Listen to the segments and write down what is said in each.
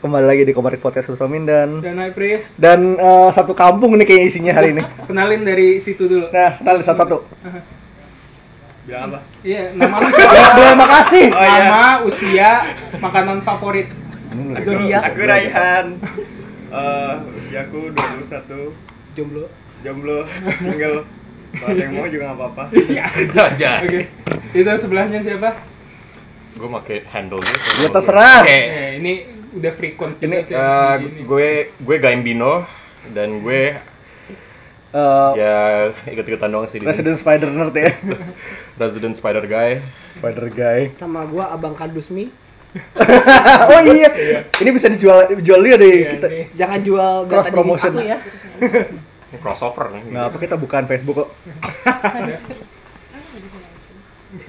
kembali lagi di Komarik Podcast bersama Mindan Dan High Priest, dan eh, satu kampung nih kayaknya isinya hari ini. kenalin dari situ dulu. Nah, kenalin satu-satu. Bilang apa? Iya, nama lu Ya, siapa? terima kasih. Oh, iya. Nama, usia, makanan favorit. Zodiak. Aku Raihan. Eh, usiaku 21, Jomblo. jomblo, single. Kalau ada yang mau juga nggak apa-apa. Jajan. Oke. Itu sebelahnya siapa? Gue make handle nya Ya, terserah. Oke. Eh, ini udah frequent juga Ini sih. eh, begini. gue gue Gaimbino dan gue Eh, ya ikut-ikutan doang sih di sini. Resident Spider Nerd ya. Resident Spider Guy. Spider guy. sama gua Abang Kadusmi. oh iya. Ini bisa dijual jual dia deh Iya, kita. ini. Jangan jual Cross data dinis promotion. aku ya. Crossover nih. Nah, apa kita bukan Facebook kok.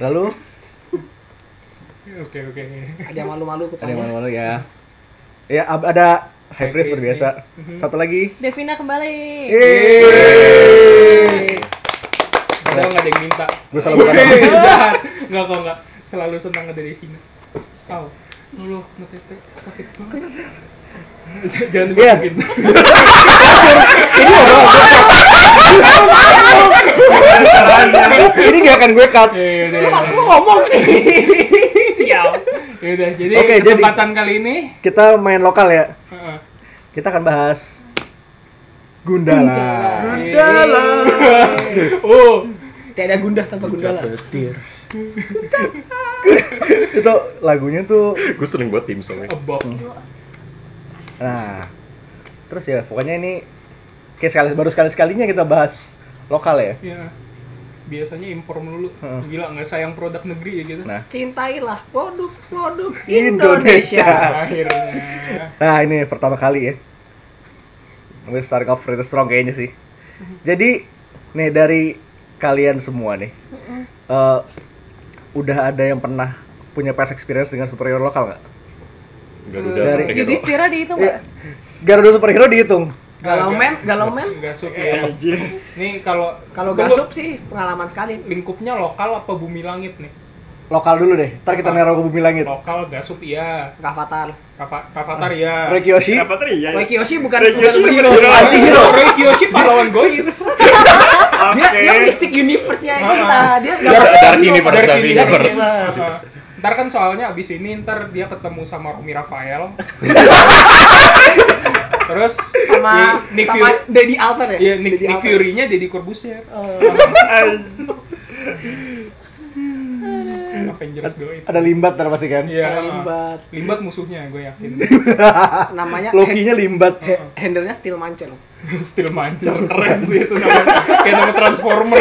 Lalu Oke, oke. Ada yang malu-malu ada yang kupanya. malu-malu ya. Ya, ab- ada high priest seperti biasa. Satu lagi. Devina kembali. Yeay. Padahal nggak ada yang minta. Gue salah bukan. nama. Jahat. Nggak kok nggak. Selalu senang ada Devina. Aw, lu ngetete sakit banget. J- Jangan Iya. dimasukin. Ini gak akan gue cut. Ya, ya, ya, ya. Aku ngomong sih. Ya udah, jadi Oke, jadi- kesempatan kali ini Kita main lokal ya. Heeh. Kita akan bahas Gundala. Gundala. Oh, Tidak ada gundah tanpa gundala. ya. Petir. itu lagunya tuh gue sering buat tim soalnya. abok. nah terus ya pokoknya ini kayak sekali baru sekali sekalinya kita bahas lokal ya Ya. Biasanya impor dulu. Heeh. Gila nggak sayang produk negeri ya gitu. Nah. Cintailah produk-produk Indonesia. Indonesia. Akhirnya. Nah ini pertama kali ya We're starting off pretty strong kayaknya sih Jadi nih dari kalian semua nih eh, Udah ada yang pernah punya past experience dengan superhero lokal nggak? Garuda Dari- sampai gitu. Yudhistira dihitung Iya. nggak? Garuda superhero dihitung Galau men, galau men. Gasuk Eh, ya. Anjir. Nih kalau Iya. Kalau Tunggu, gasup sih pengalaman sekali. lingkupnya lokal apa bumi langit nih? Lokal dulu deh, ntar kita naruh ke bumi langit Lokal gasup iya, Rafathar. Kapa- Kapatar iya. Rekiyoshi Kenapa tadi ya? Roy Kiyoshi bukan Roy bukan Kiyoshi hero. bukan hero. Anti hero Rekiyoshi pahlawan goib. Dia dia Oke. mistik universe-nya kita. Ah. Dia Dark, dark universe, Dark dark Universe. universe. Heeh. Ntar kan soalnya abis ini ntar dia ketemu sama Romi Rafael. Terus sama Iya. Nick sama Fury. Dedi Alter ya. Iya, Nick, Daddy Nick Alter. Fury-nya Deddy Corbuzier. Eh, Avengers gue itu. Ada limbat ntar pasti kan Iya. Ada Limbat. Limbat musuhnya gue yakin. Eh, namanya Ya, eh. Loki-nya limbat he- handle-nya Steel Mancel. Still mancur keren sih itu nama kayak nama Transformer.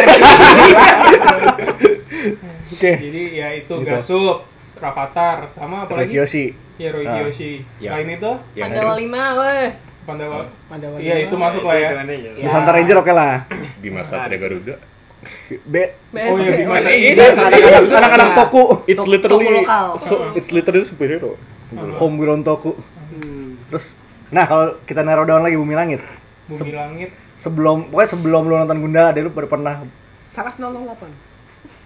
Oke, Jadi ya itu Gitu. Gasup, Rafathar, sama apa lagi? Rekiyoshi Ya Roy Ah. Kiyoshi. Ya. Selain itu Yang Pandawa lima, weh. Pandawa. Pandawa Iya lima. itu masuk lah ya. Hitungannya ya. Nusantara Ranger oke lah Nah, Bima Satria Garuda. B Oh iya Bima Oke. Satria. Ini Anak-anak anak-anak toku It's Toko- literally toko lokal. so- it's literally superhero. Homegrown toku Hmm. Terus, nah kalau kita narrow down lagi Bumi Langit, Bumi Langit. sebelum pokoknya sebelum lu nonton Gundala deh lu baru pernah Saras 008.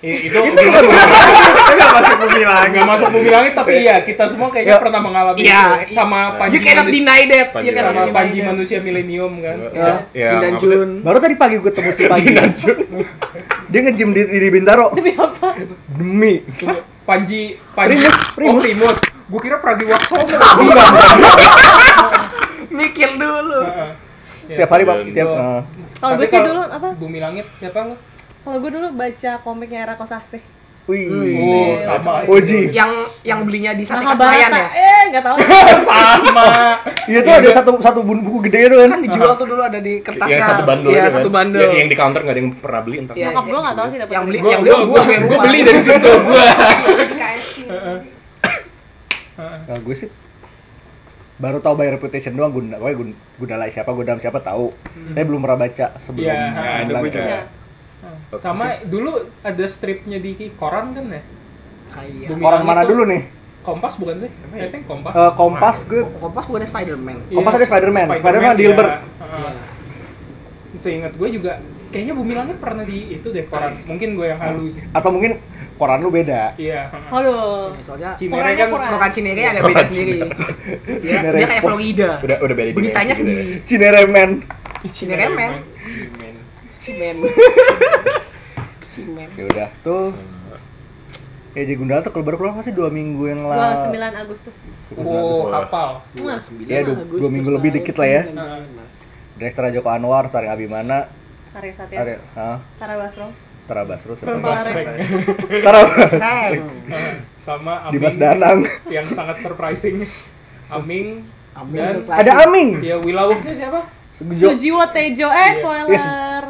Eh, itu nggak Nggak masuk bumi langit. masuk Bumi Langit tapi ya kita semua kayaknya Ya. pernah mengalami Iya. itu. sama Panji You cannot Manusia- deny that. Panji You sama cannot Manusia. deny Panji that. manusia milenium kan. Ya. Iya. Jin dan Iya, apa tuh? Jun. baru tadi pagi gue temu si pagi dia ngejim di, di Bintaro Demi apa? demi Tunggu, Iya. Panji, Panji, Primus, oh Primus. Primus, gue kira Pragiwaksono. Mikir dulu. Heeh. Ya. tiap hari pak Dan- tiap Gua- nah. Kalau Tapi gue sih dulu apa? Bumi Langit siapa lo? Kalau gue dulu baca komiknya Era Kosasih. wih Oh, Iya. sama. Oji Yang yang belinya di sate Kasabayan ya. Iya, Mahabharata. Eh, nggak tahu. Sama. iya tuh ada satu satu bun- buku gede itu kan Kan dijual tuh dulu ada di kertasnya. Yang satu bandel Iya, itu kan. satu bandel. Yang, yang di counter nggak ada yang pernah beli entah. Iya, Nyokap gue nggak tahu sih dapat. yang beli Gua- yang beli gua- gua gua- yang gua lupa. beli dari situ gue. di KFC. nah, gue sih baru tahu by reputation doang Gunda, pokoknya Gun- Gundala siapa Gundam siapa tahu tapi belum pernah baca sebelum Iya, Gundala. itu gue juga. Iya. Sama dulu ada stripnya di koran kan ya? Kayak Bumi orang Langit mana tuh. dulu nih Kompas bukan sih? I think Kompas. Eh, Kompas gue Kompas gua ada Spider-Man. Kompas Iya. ada Spider-Man. Spider-Man di iya. Hilbert. Heeh. Seingat gue juga kayaknya Bumi Langit pernah di itu deh koran. Mungkin gue yang halus. atau mungkin koran lu beda. Iya. Waduh. Ya, soalnya Cinere Korannya kan kurang. Rokan Cinere agak beda sendiri. Dia, Cinere dia kayak pos. Florida. Udah udah beda dimensi Beritanya gitu ya. sendiri. Cinere men. Cinere men. ya? Cimen. Cimen. Cimen. Ya udah tuh. Ya jadi Gundala tuh kalau baru keluar masih dua minggu yang lalu. 29 Agustus. Oh, hafal. Wah, Ya dua, dua minggu lebih dikit lah ya. Direktur Joko Anwar, Tarik Abimana, Arya Satya. Tarik, hah, Tara Ya. Basro. Tara Basro, siapa Perempuan lagi? Basreng. Tara Basro, Seng. Sama Aming. Dimas Danang. Yang sangat surprising. Aming. Aming dan- surprising. Ada Aming. Ya Wilawoknya siapa? Sugijo. Sujiwo Tejo. Eh, Iya. spoiler.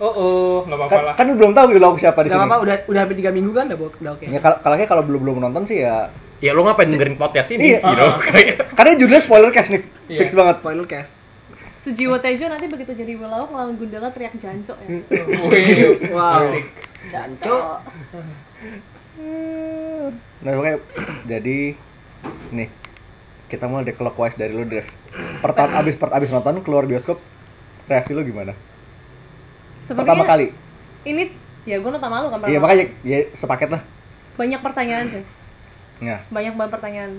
Oh, oh, nggak apa-apa Kan, lah. kan lu belum tahu Wilawak siapa di sini. Gak apa-apa, udah udah hampir 3 minggu kan udah, bo- udah oke. Ya kalau kalau kalau belum belum nonton sih ya Ya lo ngapain dengerin podcast ini? Iya. You know, kayak- karena judulnya spoiler cast nih. Iya. Fix banget. Spoiler cast. Sujiwo Tejo nanti begitu jadi Willow ngelawan Gundala teriak jancok ya. kan. Wih, Wow. asik. Janco. Nah, oke. Jadi nih kita mulai dari clockwise dari lu, Dev. Pertama abis per, abis nonton keluar bioskop reaksi lu gimana? Pertama Sebenarnya kali. Ini ya gue nonton malu kan Iya pertama makanya kali. ya sepaket lah. banyak pertanyaan sih. Nah, Banyak banget pertanyaan.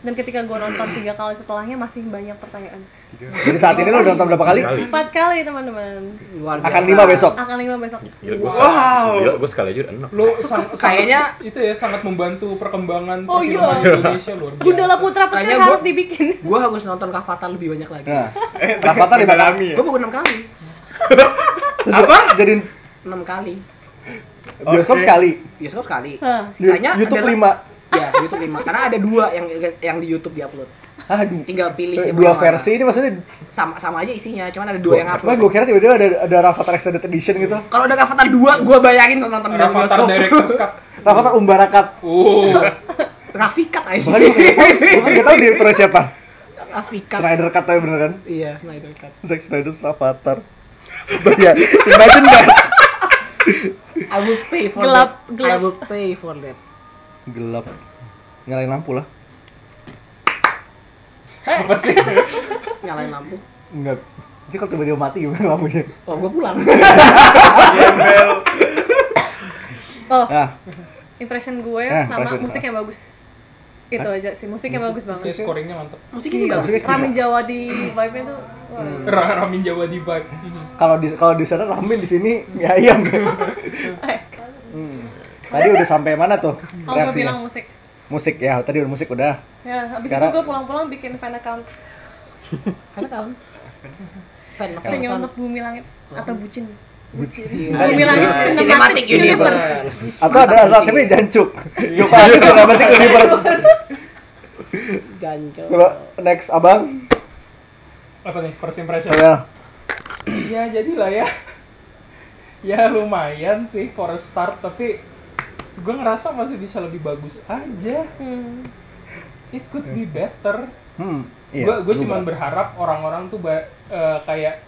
Dan ketika gue nonton tiga kali setelahnya masih banyak pertanyaan. jadi saat ini lu udah nonton berapa kali? Kali. Empat kali teman-teman. Luar biasa. Akan lima besok. Akan lima besok. Gila gue Wow. Gila gue sekali aja udah enak. Lu sang- Kayaknya- sangat- itu ya sangat membantu perkembangan Oh, iya. perfilman Indonesia luar biasa. Gundala Putra Putri Kayaknya gua- harus dibikin. Gua harus nonton Kavatan lebih banyak lagi. Nah, Rafathar lima kali. Dalami ya. Gua baru 6 kali. Apa? Jadi 6 kali. bioskop Oke. sekali. Bioskop kali. Hah. Sisanya YouTube adalah- lima. Ya, YouTube 5. Karena ada dua yang yang di YouTube diupload. Aduh. Tinggal pilih yang Eh, Dua mana. versi ini maksudnya Sama sama aja isinya, cuman ada dua yang Makanya upload. gue kira tiba-tiba ada ada Rafathar Extended Edition gitu. Kalau ada Avatar 2, gua bayangin nonton nonton dari Rafathar bioskop. Director's Cut. Rafathar Umbarakat. Uh, Rafikat aja. Bahkan gue nggak tahu direkturnya siapa. Rafikat. Snyder Cut tapi bener kan? Iya, Snyder Cut. Zack Snyder's Rafathar. But yeah, imagine that. I will pay for Gelap, that. gelap. I will pay for that. Gelap. Nyalain lampu lah. apa sih? Nyalain lampu. Enggak. Jadi kalau tiba-tiba mati gimana lampunya? Oh, gua pulang. Gembel. Oh, Nah, impression gue Eh, sama impression. musik yang bagus. Itu aja sih, musik yang bagus Iya. Maksudnya banget. ya, scoringnya mantap. Musiknya sih bagus. Musiknya- Rami Jawa di vibe-nya tuh. wah. Ra- Ramin Jawa di vibe. kalau di kalau di sana ramen di sini ya ayam. Eh, Hmm. Tadi udah sampai mana tuh kalau gue reaksinya? bilang musik. Musik ya, tadi udah musik udah. Ya, habis Sekarang- itu gue pulang-pulang bikin fan account Fan account. Fan account. hanya untuk bumi langit atau bucin. Bucin. Bumi langit Cinematic cinematic universe. Universe. Atau ada alternatifnya jancuk. Coba ada cinematic universe. Janjo. Coba next abang. Apa nih? First impression. Saya Ya jadilah ya. Ya lumayan sih for a start tapi gue ngerasa masih bisa lebih bagus aja. Hmm. It could be better. Hmm. Gue Iya. gue berubah. cuma berharap orang-orang tuh ba- eh, kayak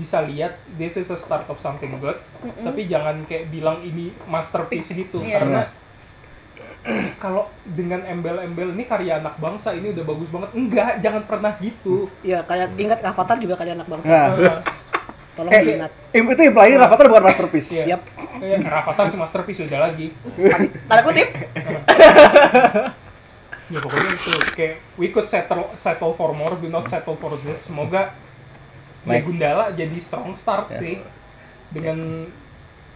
bisa lihat this is a start of something good, Mm-mm. tapi jangan kayak bilang ini masterpiece gitu Iya. karena kalau dengan embel-embel ini karya anak bangsa ini udah bagus banget. Enggak, jangan pernah gitu. Iya, kalian ingat Avatar juga kalian anak Nah, bangsa. Eh, Tolong eh, diingat. im- itu imply Rafathar bukan masterpiece. Iya. Yap. kayak Rafathar sih masterpiece udah lagi. Tanda kutip. ya pokoknya itu kayak we could settle settle for more do not settle for this semoga ya Baik. Gundala jadi strong start Ya. sih dengan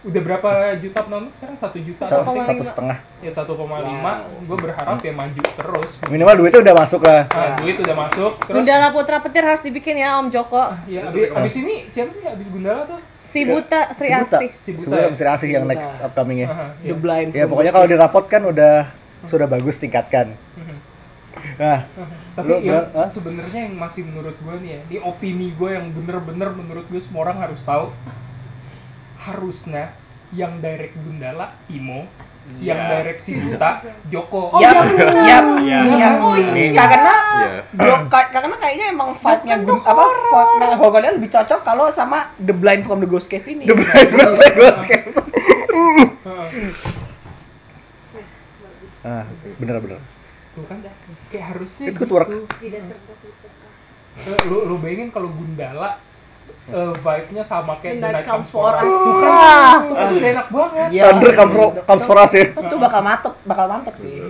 udah berapa juta penonton sekarang satu juta Satu, something. satu setengah. ya 1,5 gue berharap ya maju terus Minimal duitnya udah masuk lah. nah, duit udah masuk terus Gundala Putra Petir harus dibikin ya Om Joko. ya abis, abis ini siapa sih abis Gundala tuh Si Buta Sri Asih. Si Buta. ya? Sebelum Sri Asih yang Si Buta. next upcomingnya. Aha, ya. The blind. Ya from pokoknya kalau Justice. dirapot kan udah sudah bagus tingkatkan. Mhm. Nah, tapi Lu yang ah? bilang, "Hah?" sebenarnya yang masih menurut gue nih ya ini opini gue yang bener-bener menurut gue semua orang harus tahu harusnya yang direct Gundala Imo yang direct si Buta Joko Oh, Yap, iya bener. yap, Iya. yap. Oh, iya. Nah, karena Iya. Blok- ka- karena kayaknya emang vibe-nya gun, apa vibe nah, Hogan lebih cocok kalau sama The Blind from the Ghost Cave ini. The Blind from the Ghost Cave. Heeh. nah bener-bener. tuh kan kayak harusnya It could work. gitu. Eh, lu lu bayangin kalau Gundala eh, vibe-nya sama kayak The Night Comes For Us. Us. Tuh kan, Ah. itu sudah enak banget. Iya. Thunder comes for- Itu- comes for us ya. Itu bakal mantep, bakal mantep sih.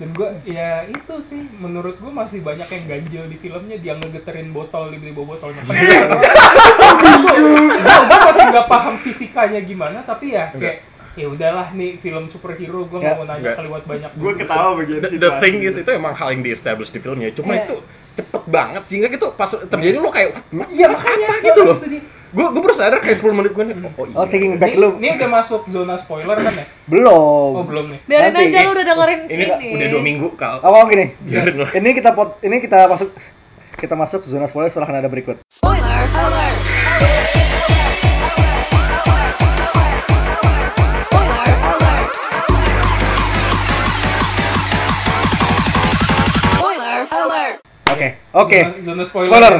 Dan gue, ya itu sih, menurut gue masih banyak yang ganjil di filmnya, dia ngegeterin botol, dibeli bawa botolnya. gue masih nggak paham fisikanya gimana, tapi ya kayak, ya udahlah nih film superhero, gue nggak Ya, mau nanya enggak. keliwat banyak. Gue ketawa bagian The, Iya, the thing is itu emang hal yang di establish di filmnya. Cuma Iya. itu cepet banget sehingga gitu pas terjadi lo kayak "What? Iya makanya gitu loh. Gue gue baru sadar kayak 10 menit gue nih. Hmm. Oh, oh iya. Oh, taking Ini, back lu. ini udah masuk zona spoiler kan ya? Belum. Oh belum nih. Biarin Nanti. aja lu udah dengerin ini. ini, udah dua minggu kal. Oh. Apa gini? Iya. Biarin lah. Ini kita pot, ini kita masuk kita masuk zona spoiler setelah nada berikut. Oke, oke. Zona- Zona spoiler. Spoiler.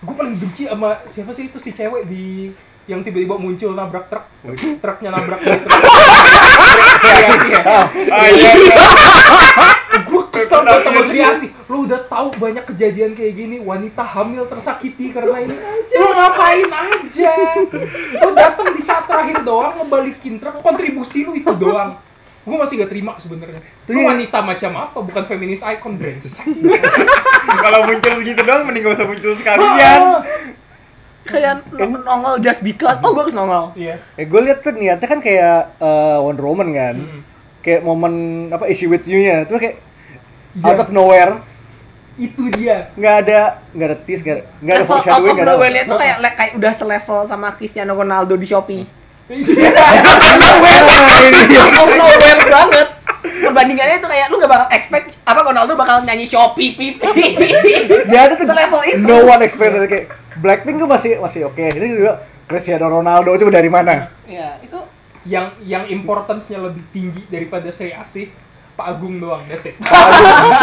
Gue paling benci sama siapa sih itu si cewek di yang tiba-tiba muncul nabrak truk. Truknya nabrak gitu. iya. Ah, Gue kesel banget sama Sri Asih. Lo udah tahu banyak kejadian kayak gini, wanita hamil tersakiti karena ini. Lo ngapain aja? Lo datang di saat terakhir doang ngebalikin truk, kontribusi lu itu doang. Gue masih gak terima sebenarnya. Lu wanita macam apa? Bukan feminis icon brands. Kalau muncul segitu doang mending gak usah muncul sekalian. Kayak nong- nongol just because. Oh, gue harus nongol. Iya. Eh, gue lihat tuh niatnya kan kayak eh, Wonder Woman kan. Hmm. Mm. Kayak momen apa issue with you-nya tuh kayak Iya. out of nowhere, Itu dia. nggak ada nggak ada tease, nggak ada nggak ada Level out foreshadowing, of nggak ada. nowhere liat tuh kayak le- kayak udah selevel sama Cristiano Ronaldo di Shopee. Iya. Out of nowhere banget. Perbandingannya tuh kayak lu gak bakal expect apa Ronaldo bakal nyanyi Shopee pipi. Dia ada tuh Selevel itu. no one expected kayak Blackpink tuh masih masih oke. Ini juga Cristiano Ronaldo itu dari mana? Ya, itu yang yang importance-nya lebih tinggi daripada Sri Asih, Pak Agung doang, that's it.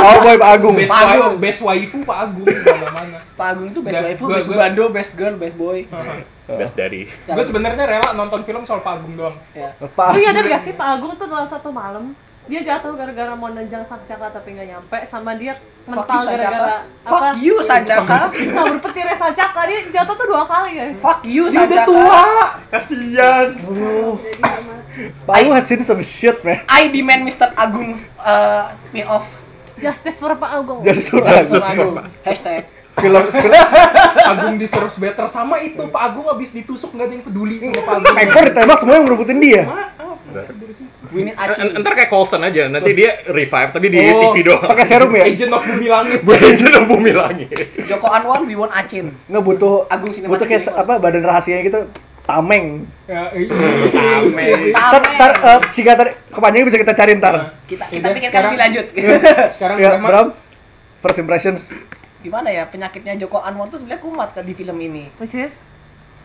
Oh boy Pak Agung. Best, Pak wa- Agung. best waifu Pak Agung mana-mana. Pak Agung tuh best Gua- waifu, gua- best gua- bando, best girl, best boy. Iya. Best dari Gue sebenarnya rela nonton film soal Pak Agung doang. Ya. Pak. Lu nyadar gak sih Pak Iya, Agung tuh dalam satu malam dia jatuh gara-gara mau nenjang sancaka tapi nggak nyampe sama dia Fuck you, mental Sancaka. gara-gara Fuck apa you, Sancaka. kabur petirnya sancaka dia jatuh tuh dua kali guys Fuck you, Dia udah Sancaka. tua. Kasian. Pak Agung Iya. has seen some shit man. I demand Mr. Agung uh, spin off. justice for Pak Agung Justice for Justice Agung. Agung. Hashtag. Film film Agung deserves better sama itu Pak Agung habis ditusuk gak ada yang peduli sama Pak Agung. Anchor ditembak semua yang ngerebutin dia. We N- need Aki. Ntar kayak Colson aja, nanti dia revive tapi di Oh, TV doang. Pakai serum ya? Agent of Bumi Langit. Gue aja udah bumi langit. Joko Anwar, we want Acin. Nggak butuh Agung Cinematic butuh kayak se- Universe. apa badan rahasianya gitu tameng. Ya, iya. Ntar, ntar eh, singkatan kepanjangnya bisa kita cari ntar. Kita uh, kita Udah, pikirkan sekarang- lebih lanjut. Nah, Sekarang Ya, Rahmat, Bram. First impressions. Gimana ya penyakitnya Joko Anwar tuh sebenarnya kumat kan di film ini. which is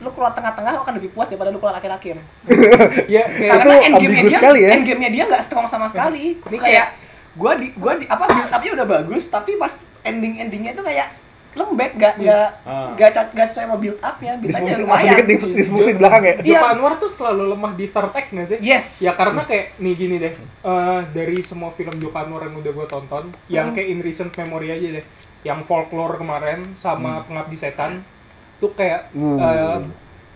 Lu keluar tengah-tengah lu akan lebih puas daripada lu keluar akhir-akhir. ya kayak Karena Itu endgame-nya ambigu dia, sekali ya. Iya. endgame-nya dia nggak strong sama sekali. Ini kayak- kayak gua di gua di apa build up-nya udah bagus tapi pas ending-endingnya tuh kayak lembek Hmm. gak nggak Ah. nggak cocok gak sesuai sama build up-nya. Build up-nya Disfungsi masih lumayan. dikit dif- disfungsi di belakang ya. Iya. Joko Anwar tuh selalu lemah di third act nggak sih? Yes. Ya karena kayak nih gini deh, eh, dari semua film Joko Anwar yang udah gue tonton, yang Hmm. kayak in recent memory aja deh, yang folklore kemarin sama Pengabdi Setan, tuh kayak Hmm. eh,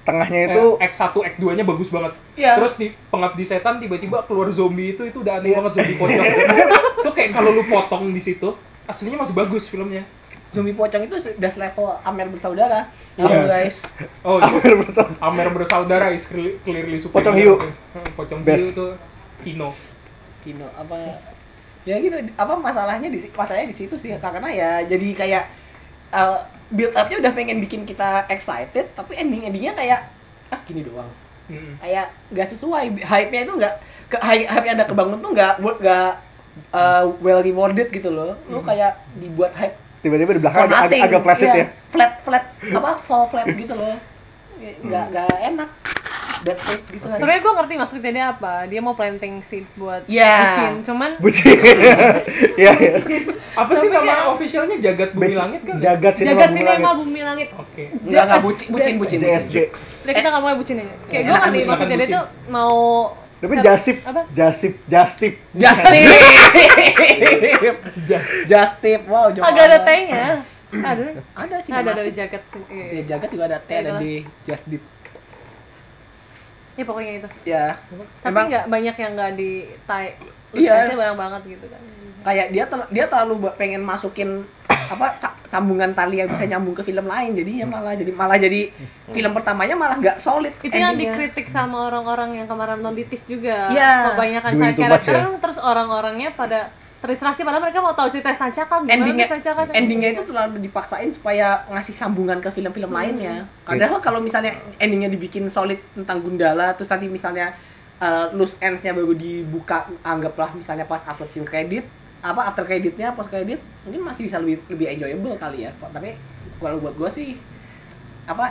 Tengahnya eh, itu X1, X2-nya bagus banget. Iya. Terus di Pengabdi Setan tiba-tiba keluar zombie itu itu udah Iya. aneh banget zombie pocong. tuh kayak kalau lu potong di situ, aslinya masih bagus filmnya. Zombie pocong itu sudah selevel Amer bersaudara. Iya. Halo guys. Oh, iya. hampir bersama. Amer bersaudara is clearly- clearly super. Pocong hiu. Pocong hiu Best. tuh Kino. Kino apa ya gitu apa masalahnya di si- masalahnya di situ sih karena ya jadi kayak eh, build upnya udah pengen bikin kita excited tapi ending endingnya kayak ah gini doang Mm. kayak nggak sesuai hype nya itu nggak ke hype hype yang ada kebangun tuh nggak worth nggak eh, well rewarded gitu loh lu kayak dibuat hype tiba-tiba di belakang for Hmm. agak, agak, nothing. agak placid ya. Iya, flat flat apa fall flat gitu loh Hmm. nggak nggak enak bad taste gitu kan sebenarnya gue ngerti maksudnya dia apa dia mau planting seeds buat Iya. bucin cuman Bucin. Iya, iya. Apa sih Tapi nama kayak- officialnya Jagat Bumi Langit kan? Jagat sinema jagat bunga sinema langit. bumi langit Oke. nggak nggak Just- bucin bucin Iya, bucin JSJ. Udah kita nggak mau bucin aja. Kayak gue Enakan ngerti bucin, maksudnya dia enakan tuh mau Tapi set- jasip, Apa? jasip, jastip. Justip. Justip. Wow, Joko Agak ada Anwar. T-nya. Ada. Ada sih. Ada dari jaket sih. Iya, Ya, Iya. jagat juga ada T, ada D, Jasdip. Ya pokoknya itu. Ya. Tapi Emang- nggak banyak yang nggak di tie. Iya. Iya. banyak banget gitu kan. kayak dia terl- dia terlalu ba- pengen masukin apa sa- sambungan tali yang bisa nyambung ke film lain jadinya malah jadi malah jadi film pertamanya malah nggak solid Itu yang endingnya. dikritik sama orang-orang yang kemarin notitif juga. Iya. Kebanyakan Doing side too ya. much, character terus orang-orangnya pada terdistraksi padahal mereka mau tahu cerita sancaka gimana kan? Endingnya- nih sancaka. endingnya itu terlalu dipaksain supaya ngasih sambungan ke film-film Hmm. lainnya Iya. padahal kalau misalnya endingnya dibikin solid tentang Gundala terus tadi misalnya uh, loose ends-nya baru dibuka anggaplah misalnya pas after scene credit apa after creditnya post credit mungkin masih bisa lebih lebih enjoyable kali ya tapi kalau buat gue sih apa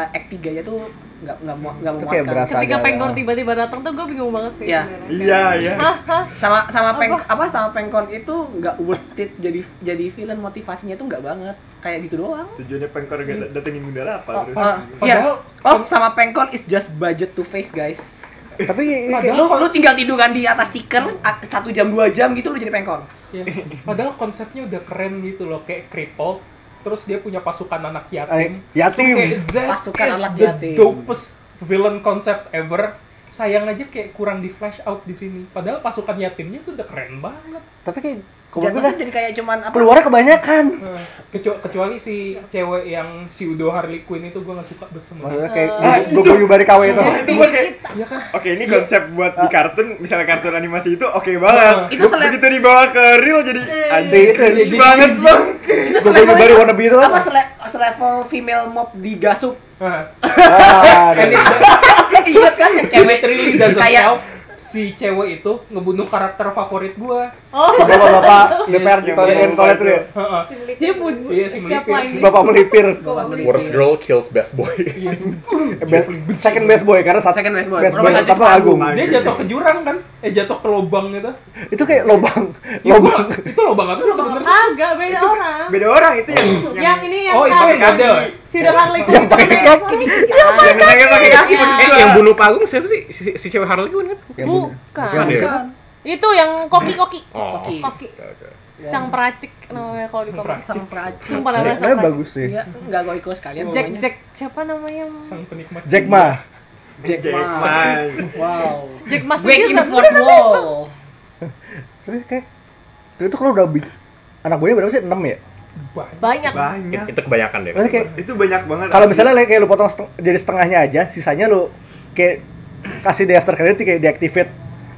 uh, act 3 nya tuh nggak nggak mau nggak Itu kayak memuaskan berasa ketika ada- Pengkor tiba-tiba datang tuh gue bingung banget sih. Iya. sebenarnya. Iya, iya. Hah, hah. sama sama peng apa? sama pengkon itu nggak worth it jadi jadi villain motivasinya tuh nggak banget kayak gitu doang Tujuannya pengkor gak datengin Gundala apa oh, terus? oh, Padahal- iya. oh sama pengkon is just budget to face guys Tapi ini kayak- lu lu tinggal tiduran di atas tikar a- satu jam dua jam gitu lu jadi pengkon Ya, Padahal konsepnya udah keren gitu loh, kayak cripple. Terus dia punya pasukan anak eh, yatim. yatim. Kayak that Pasukan is anak the yatim. dopest villain concept ever. Sayang aja kayak kurang di flash out di sini. Padahal pasukan yatimnya tuh udah keren banget. Tapi kayak kalau gue jatuhnya dah jadi kayak cuman apa keluarnya kebanyakan. Nah, kecu- kecuali si cewek yang si Udo Harley Quinn itu gue gak suka banget sama dia. Maksudnya kayak Eh, gue gue guyub dari KW itu. Yang itu bikin kayak- kita. Iya kan? Oke, ini konsep buat di kartun, misalnya kartun animasi itu oke banget. Ah. Oh. Itu Eh. seleb- Begitu dibawa ke real jadi Sih, anjing itu cringe jadi- banget bang. Gue guyub dari wannabe itu. apa sele- selevel female mob di gasup Nah, Ah, ada. ingat kan yang cewek cewek really doesn't Kayak- help si cewek itu ngebunuh karakter favorit gue. Oh, Bapak-bapak DPR di Yang toilet bawa yang toilet itu. itu ya. Heeh. dia bud. Iya, si setiap melipir. line Si Bapak melipir. Bapak melipir. Worst girl kills best boy. Iya. Eh, be- Second best boy karena satu Second best boy. best boy Nomor satu pertama itu Agung. Dia jatuh ke jurang kan? Eh jatuh ke lubang gitu. Itu kayak lobang, Ya, Iya, gua- lobang. itu lubang apa sih sebenarnya? Agak beda orang. Beda orang itu yang Yang ini yang Oh, itu tadi. kan, yang ada. Si udah Harley Quinn Yang itu pakai kayak cap. ini kan. yang nanya pakai kaki Iya. maksud Eh, gua. yang bunuh Pagung siapa sih? Si, si cewek Harley Quinn kan? Iya, Bukan. Yang dia. Bukan. Itu yang koki-koki. Oh. gitu kan. Koki. Koki. Oke, oke. Sang peracik namanya kalau di komik. sang peracik Sumpah namanya sang Sebenarnya peracik. bagus sih. Iya, nggak gue ikut sekalian Jack pokoknya. Jack siapa namanya? Sang penikmat. Jack Ma. Jack Jack Ma. Ma. Wow. Jack Mas Breaking Sudirman. the fourth wall. Terus kayak itu kalau udah bi- anak gue berapa sih? 6 ya? Banyak. Banyak. Banyak. Itu kebanyakan deh. Terus kayak Itu banyak banget. kalau asli. misalnya kayak lu potong seteng- jadi setengahnya aja, sisanya lu kayak kasih di after credit kayak deactivate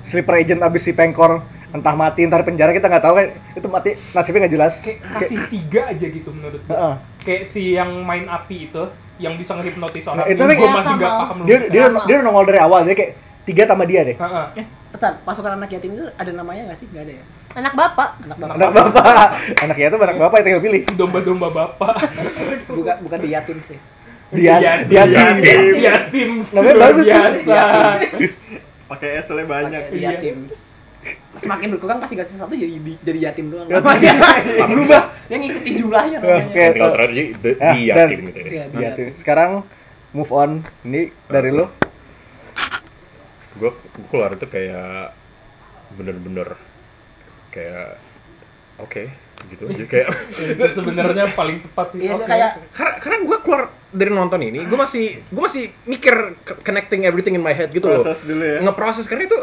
sleeper agent abis si pengkor entah mati entar penjara kita nggak tahu kan itu mati nasibnya nggak jelas Kayak kasih tiga aja gitu menurut gue. Heeh. Kayak si yang main api itu, yang bisa ngehipnotis Nah, orang. itu gue kayak- masih gak Kamal. paham. dia dia Lama. dia nongol dari awal dia kayak tiga tambah dia deh Heeh. Bentar, pasukan anak yatim itu ada namanya nggak sih? Nggak ada ya? Anak bapak. Anak bapak. anak bapak anak yatim anak bapak yang tinggal pilih Domba-domba bapak. Bukan, bukan di yatim sih. dia dia Yatim. Dia Sims. Namanya luar bagus kan? Iya. tuh. biasa. pakai S E soalnya banyak. Pakai di iya. yatim. Semakin berkurang pasti garis satu jadi di- jadi yatim doang. Yatim. Namanya berubah. Yang ngikutin jumlahnya namanya. Oke. Yang kalau terakhir jadi the- Ah, dia dan- gitu ya. Iya, di Dia yatim. yatim. sekarang move on ini dari lu gue keluar itu kayak bener-bener kayak oke gitu aja kayak Itu sebenarnya paling tepat sih. Iya, Oke. kayak karena karena gue keluar dari nonton ini gue masih gue masih mikir ke- connecting everything in my head gitu loh Proses dulu ya. ngeproses karena itu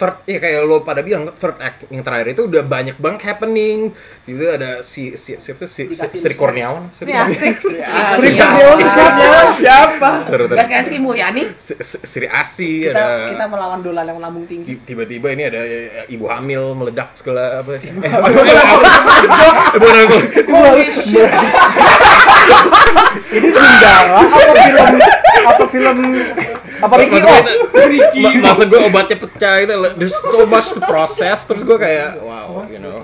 third ya kayak lo pada bilang third act yang terakhir itu udah banyak banget happening gitu ada si si siapa tuh? si, si, Dikasih Sri list. Kurniawan Sri Ya, asik. Iya. Sri Asik. Kurniawan siapa Siapa? Bentar, bentar. ah, Gas kayak Sri Mulyani. Si- si- Sri Asi Kita ada kita melawan dolar yang lambung tinggi. Ti- tiba-tiba ini ada eh, ibu hamil meledak segala apa eh, eh, apa- eh, apa- eh, bukan aku ini sundara apa film apa film apa Ricky Off Maksud gue- ma- maksud gue obatnya pecah gitu like, there's so much to process terus gue kayak wow you know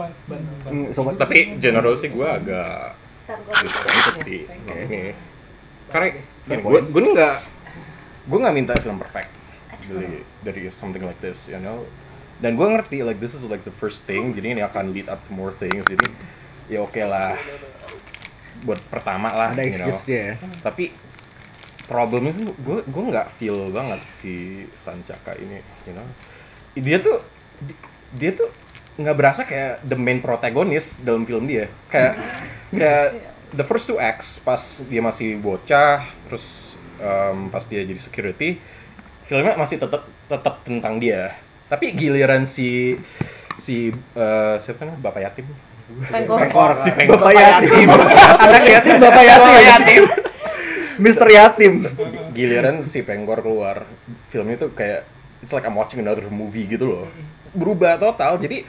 Ban- ban- ban. Hmm, sobat tapi general sih gue agak disappointed sih ya, ini karena gini, gue gue nih nggak gue nggak minta film perfect dari dari something like this you know dan gue ngerti like this is like the first thing jadi ini akan lead up to more things jadi ya oke lah buat pertama lah ada you know. excuse dia ya tapi problemnya sih gue gue nggak feel banget si Sancaka ini you know dia tuh di- dia tuh nggak berasa kayak the main protagonis dalam film dia kayak Ya, the first two acts pas dia masih bocah, terus em, pas dia jadi security, filmnya masih tetap tetap tentang dia. Tapi giliran si si eh, siapa namanya bapak yatim, Iya. Pengkor. si pengkor Bapak yatim. Anak yatim, bapak yatim. Mister yatim. giliran si Pengkor keluar film itu kayak it's like I'm watching another movie gitu loh berubah total jadi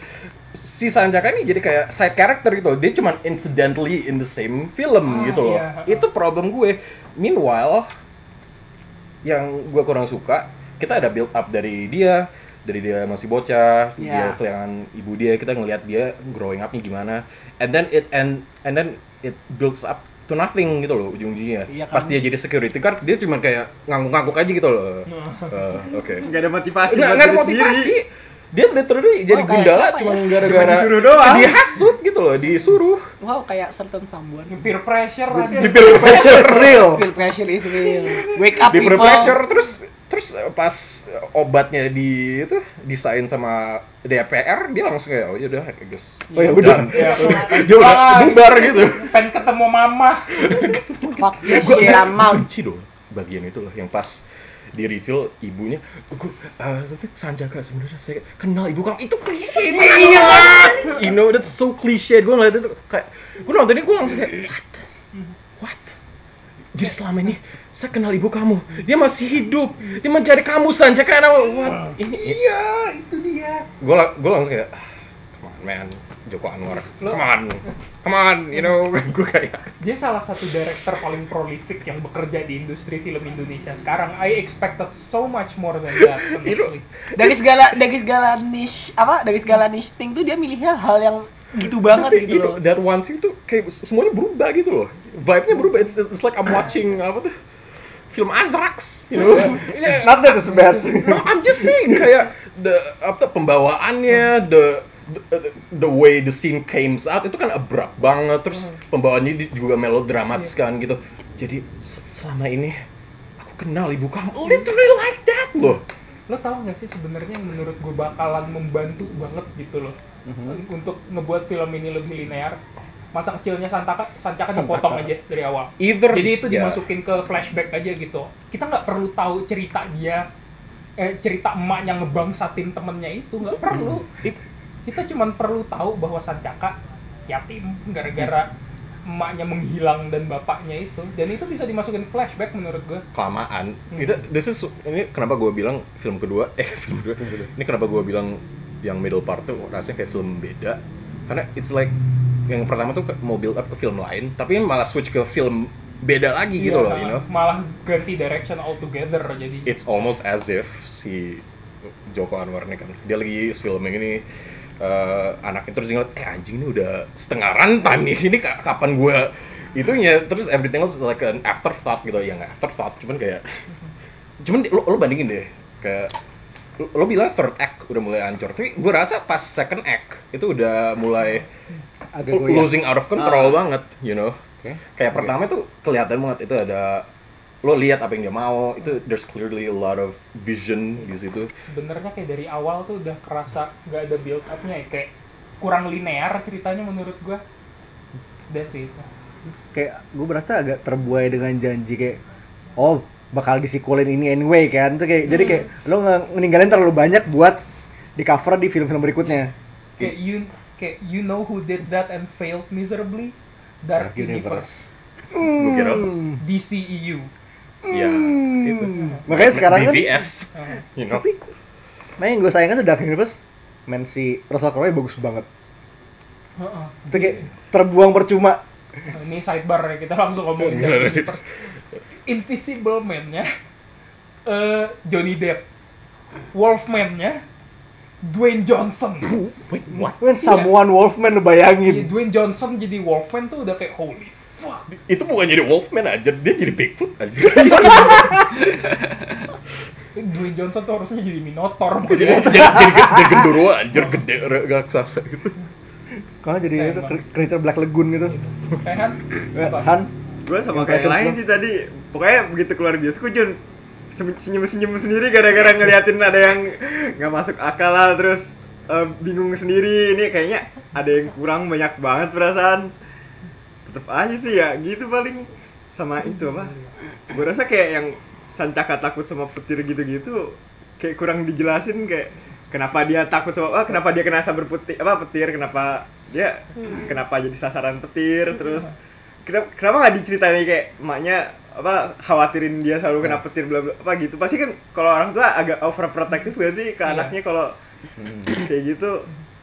si Sanjaka ini jadi kayak side character gitu dia cuman incidentally in the same film Ah, gitu loh iya. itu problem gue meanwhile yang gue kurang suka kita ada build up dari dia dari dia masih bocah dia Iya. kehilangan ibu dia kita ngelihat dia growing upnya gimana and then it and and then it builds up to nothing gitu loh ujung-ujungnya Iya kan. pas dia jadi security guard dia cuma kayak ngangguk-ngangguk aja gitu loh Eh, oke Gak ada motivasi nggak buat nggak ada diri motivasi sendiri. Oh, dia literally jadi kayak gundala siapa cuma ya? gara-gara Cuma disuruh doang. dihasut gitu loh disuruh Wow, kayak certain someone. peer pressure ada. Pressure real. Peer pressure is real. Wake up di people. pressure terus terus eh, pas eh, obatnya di itu desain sama DPR dia langsung kayak oh ya udah I guess Oh ya udah. Ya, dia udah bubar gitu pengen ketemu mama. Fuck Iya, this shit, I'm out. benci dong bagian itu loh yang pas di reveal ibunya gue Sanjaka sebenarnya saya kenal ibu kamu itu klise Iya. banget you know that's so cliche gue ngeliat itu kayak gue nontonnya gue langsung kayak what what jadi selama ini saya kenal ibu kamu dia masih hidup dia mencari kamu Sanjaka and I- what ini iya itu dia gue gue langsung kayak "Ah, come on man Joko Anwar come on come on you know gue kayak Dia salah satu director paling prolific yang bekerja di industri film Indonesia sekarang. I expected so much more than that, honestly. Dari segala dari segala niche apa dari segala niche thing tuh dia milihnya hal yang gitu banget Tapi, gitu you know, loh. That one scene tuh kayak s- semuanya berubah gitu loh. Vibe-nya berubah. It's, it's like I'm watching apa tuh film Azrax, you know. Yeah, Not that is bad. no, I'm just saying kayak the apa tuh, pembawaannya, the, the the way the scene came out itu kan abrupt banget terus pembawaannya di- juga melodramatis kan gitu. Jadi se- selama ini aku kenal ibu kamu literally like that loh. lo tau gak sih sebenarnya yang menurut gue bakalan membantu banget gitu loh Hmm? untuk ngebuat film ini lebih linear masa kecilnya Santaka Sancaka dipotong aja dari awal Either jadi itu ya. dimasukin ke flashback aja gitu kita nggak perlu tahu cerita dia eh, cerita emaknya ngebangsatin temennya itu nggak perlu Hmm. It- kita cuman perlu tahu bahwa Sancaka yatim gara-gara Hmm. emaknya menghilang dan bapaknya itu dan itu bisa dimasukin flashback menurut gue kelamaan Hmm. itu this is ini kenapa gue bilang film kedua eh film kedua ini kenapa gue bilang yang middle part tuh rasanya kayak film beda karena it's like yang pertama tuh ke- mau build up ke film lain tapi ini malah switch ke film beda lagi gitu Iya, loh you know Iya. malah ganti direction altogether jadi it's almost as if si Joko Anwar ini kan dia lagi filming ini eh, anaknya terus ngeliat eh anjing ini udah setengah runtime nih ini ka- kapan gue itunya terus everything else is like an afterthought gitu ya nggak afterthought cuman kayak cuman di- lo, lo bandingin deh kayak lo, lo bilang third act udah mulai hancur tapi gue rasa pas second act itu udah mulai Agak lo- goyah. losing out of control banget you know kayak pertama itu kelihatan banget itu ada lo lihat apa yang dia mau itu there's clearly a lot of vision di situ sebenarnya kayak dari awal tuh udah kerasa nggak ada build upnya ya kayak kurang linear ceritanya menurut gua udah sih itu kayak gue berasa agak terbuai dengan janji kayak oh bakal disikulin ini anyway kan Itu kayak jadi kayak lo nge- ninggalin terlalu banyak buat di cover di film-film berikutnya kayak Iya. you kayak you know who did that and failed miserably Dark Dark Universe, gue kira DCEU ya Hmm. itu Gitu. makanya sekarang kan BVS Eh, you know nah yang gue sayangkan tuh Dark Universe main si Russell Crowe bagus banget heeh. itu kayak Iya. terbuang percuma uh, ini sidebar ya kita langsung ngomongin Iya. Dark Universe Invisible Man-nya eh, Johnny Depp Wolfman-nya Dwayne Johnson wait what when someone Wolfman lo bayangin Iya, Dwayne Johnson jadi Wolfman tuh udah kayak holy fuck itu bukan jadi Wolfman aja dia jadi Bigfoot aja Dwayne Johnson tuh harusnya jadi Iya. Minotaur gitu ya. bukan jadi Wolfman. jadi, jadi gendurwo anjir gede re- raksasa gitu karena jadi Sayang itu banget. creature Black Lagoon gitu Eh, Han? Eh, Apa? Han Gue sama kayak yang Impressions lain lo. sih tadi. Pokoknya begitu keluar bioskop Jun se- senyum-senyum sendiri gara-gara ngeliatin ada yang nggak masuk akal lah terus eh, bingung sendiri ini kayaknya ada yang kurang banyak banget perasaan tetep aja sih ya gitu paling sama itu apa gue rasa kayak yang Sancaka takut sama petir gitu-gitu kayak kurang dijelasin kayak kenapa dia takut sama ah, kenapa dia kena saber petir apa petir kenapa dia kenapa jadi sasaran petir terus kita kenapa nggak diceritain kayak emaknya apa khawatirin dia selalu kena petir bla bla apa gitu pasti kan kalau orang tua agak overprotective gak sih ke anaknya kalau kayak gitu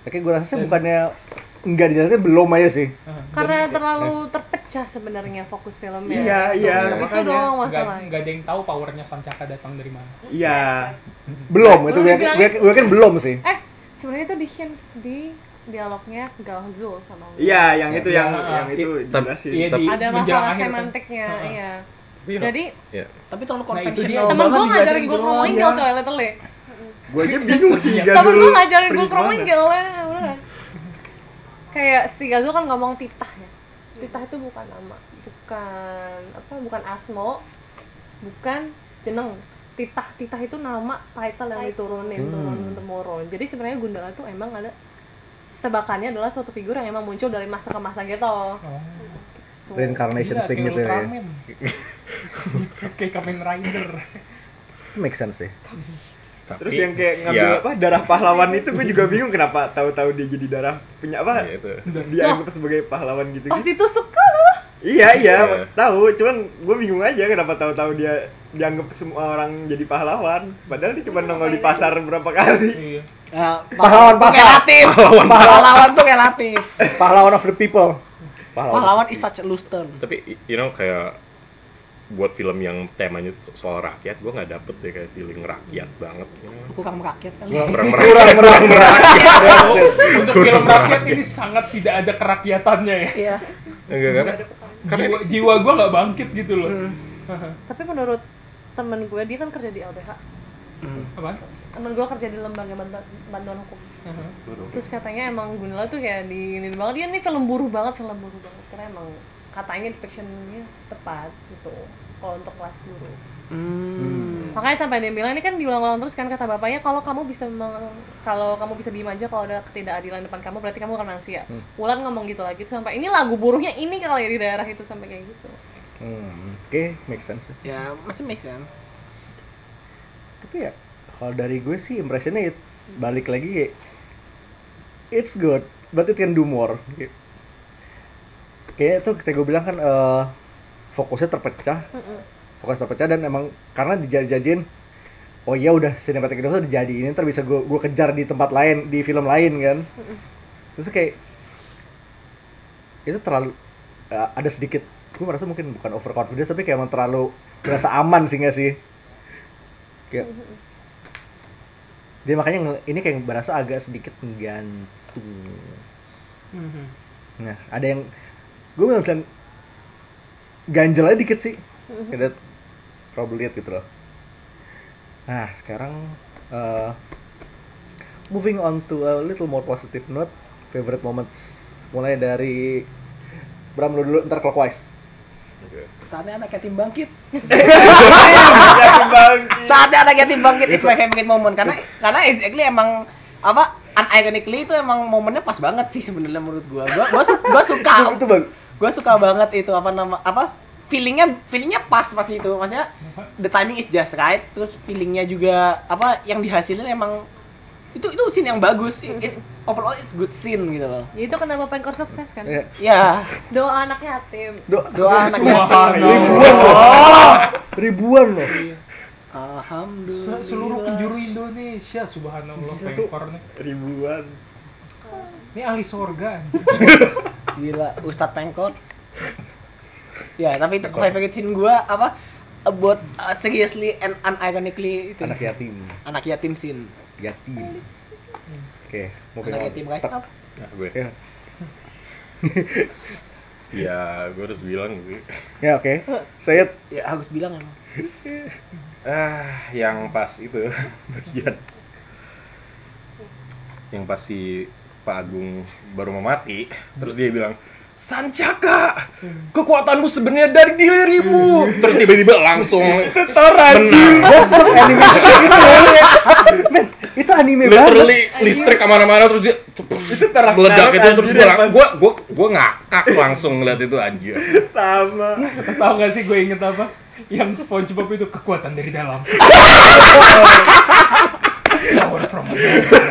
Oke, gue Ya, rasa sih bukannya nggak dijelasin belum aja sih. Karena terlalu terpecah sebenarnya fokus filmnya. Iya, iya, Itu makanya. doang nggak masalahnya. nggak ada yang tahu powernya Sancaka datang dari mana iya Belum, itu gue yakin- gue yakin- gue kan belum sih. Eh, sebenarnya itu di hint di dialognya Galzul sama Wu. iya yang itu yang Ya. yang itu Tapi- jelasin iya di Ada menjelang masalah akhir kan. semantiknya, Ha-ha. iya. Iya. Jadi Tapi terlalu Nah, itu dia. konvensional temen banget gue ngajarin dijelasin gue doang, cromwell ya. coy, literally. gue aja bingung sih Temen Temen Gazul gue ngajarin gue Iya, pergi kemana. cromwell ya, beneran. Kayak si Galzul kan ngomong titah Iya. ya. Titah itu bukan nama, bukan apa, bukan asmo, bukan jeneng. Titah, titah itu nama title yang Hmm. diturunin turun temurun. Jadi sebenarnya Gundala tuh emang ada tebakannya adalah suatu figur yang emang muncul dari masa ke masa gitu. Oh. Tuh. Reincarnation Gila, thing Iya, kayak gitu ya. Ultraman. kayak Kamen Rider Make sense sih. Tapi- Terus yang kayak ngambil Iya. apa darah pahlawan itu gue juga bingung kenapa tahu-tahu dia jadi darah punya Iya, apa itu. dia anggap sebagai pahlawan gitu Pas gitu. itu suka loh. Iya iya Iya. tahu cuman gue bingung aja kenapa tahu-tahu dia dianggap semua orang jadi pahlawan padahal dia cuma nongol di pasar berapa kali. iya Nah, Pahlawan tuh pasar. relatif. Pahlawan pasar. Pahlawan tuh relatif. Pahlawan of the people. Pahlawan is such a loose term. tapi you know kayak buat film yang temanya so- soal rakyat gue nggak dapet deh kayak feeling rakyat banget you know. Aku kurang merakyat kali. Iya. kurang merakyat Kurang kurang Ah! untuk film rakyat ini sangat tidak ada kerakyatannya ya Iya. enggak kan Iya. jiwa, jiwa gue nggak bangkit gitu loh Hmm. Tapi menurut temen gue dia kan kerja di LBH. apa Temen gue kerja di lembaga bantuan, bantuan hukum. Terus katanya emang Gundala tuh kayak di ini banget dia nih film buruh banget, film buruh banget. Karena emang katanya depictionnya tepat gitu. Kalau untuk kelas buruh. Hmm. Makanya sampai dia bilang ini kan diulang-ulang terus kan kata bapaknya kalau kamu bisa meng- kalau kamu bisa diem aja kalau ada ketidakadilan depan kamu berarti kamu akan manusia. Ulan ngomong gitu lagi terus sampai ini lagu buruhnya ini kali ya di daerah itu sampai kayak gitu. Hmm, Oke, make sense. sih. Ya, masih make sense. Tapi ya, kalau dari gue sih impressionnya it- balik lagi kayak, it's good, but it can do more. Kayak- Kayaknya tuh kita gue bilang kan eh, fokusnya terpecah, Mm-mm. fokus terpecah dan emang karena dijajajin oh ya udah cinematic universe udah jadi ini ntar bisa gue gue kejar di tempat lain di film lain kan terus kayak itu terlalu eh, ada sedikit gue merasa mungkin bukan overconfidence tapi kayak emang terlalu merasa aman sih nggak sih kayak dia makanya nge- ini kayak berasa agak sedikit menggantung nah ada yang gue bilang ganjelnya dikit sih ada trouble lihat gitu loh nah sekarang eh, moving on to a little more positive note favorite moments mulai dari Bram lu dulu ntar clockwise Saatnya anak yatim bangkit. Dia kembang. Saatnya anak yatim bangkit is my favorite moment karena karena exactly emang apa unironically itu emang momennya pas banget sih sebenarnya menurut gua. Gua gua, su- gua suka itu, itu bang gue suka banget itu apa nama apa feelingnya feelingnya pas pas itu maksudnya the timing is just right terus feelingnya juga apa yang dihasilin emang itu itu scene yang bagus It's- overall it's good scene gitu loh Ya itu kenapa Pengkor sukses kan? Iya. ya Doa anak yatim. Do- Nah, doa anak Wah, yatim. ribuan loh ribuan loh alhamdulillah Se- seluruh penjuru Indonesia subhanallah pengkor nih ribuan ini ahli sorga gila Ustadz Pengkot ya tapi itu favorite scene gue apa about uh, seriously and unironically itu anak yatim anak yatim scene yatim oke moving Hmm. anak on yatim guys Ntar- apa Nah, gue ya ya gue harus bilang sih ya oke saya ya harus bilang emang ah yang pas itu Iya. bagian yang pas si Pak Agung baru mau mati terus dia bilang Sancaka, kekuatanmu sebenarnya dari dirimu. Terus tiba-tiba langsung Anjing, menang. gosong animation gitu ya. Men, itu anime banget. Literally listrik kemana-mana terus dia itu Ragnarok meledak itu terus gue anjir ya, pas- gue gue gue ngakak langsung ngeliat itu anjir. sama Tahu nggak sih gue inget apa? Yang SpongeBob itu kekuatan dari dalam. Power from within.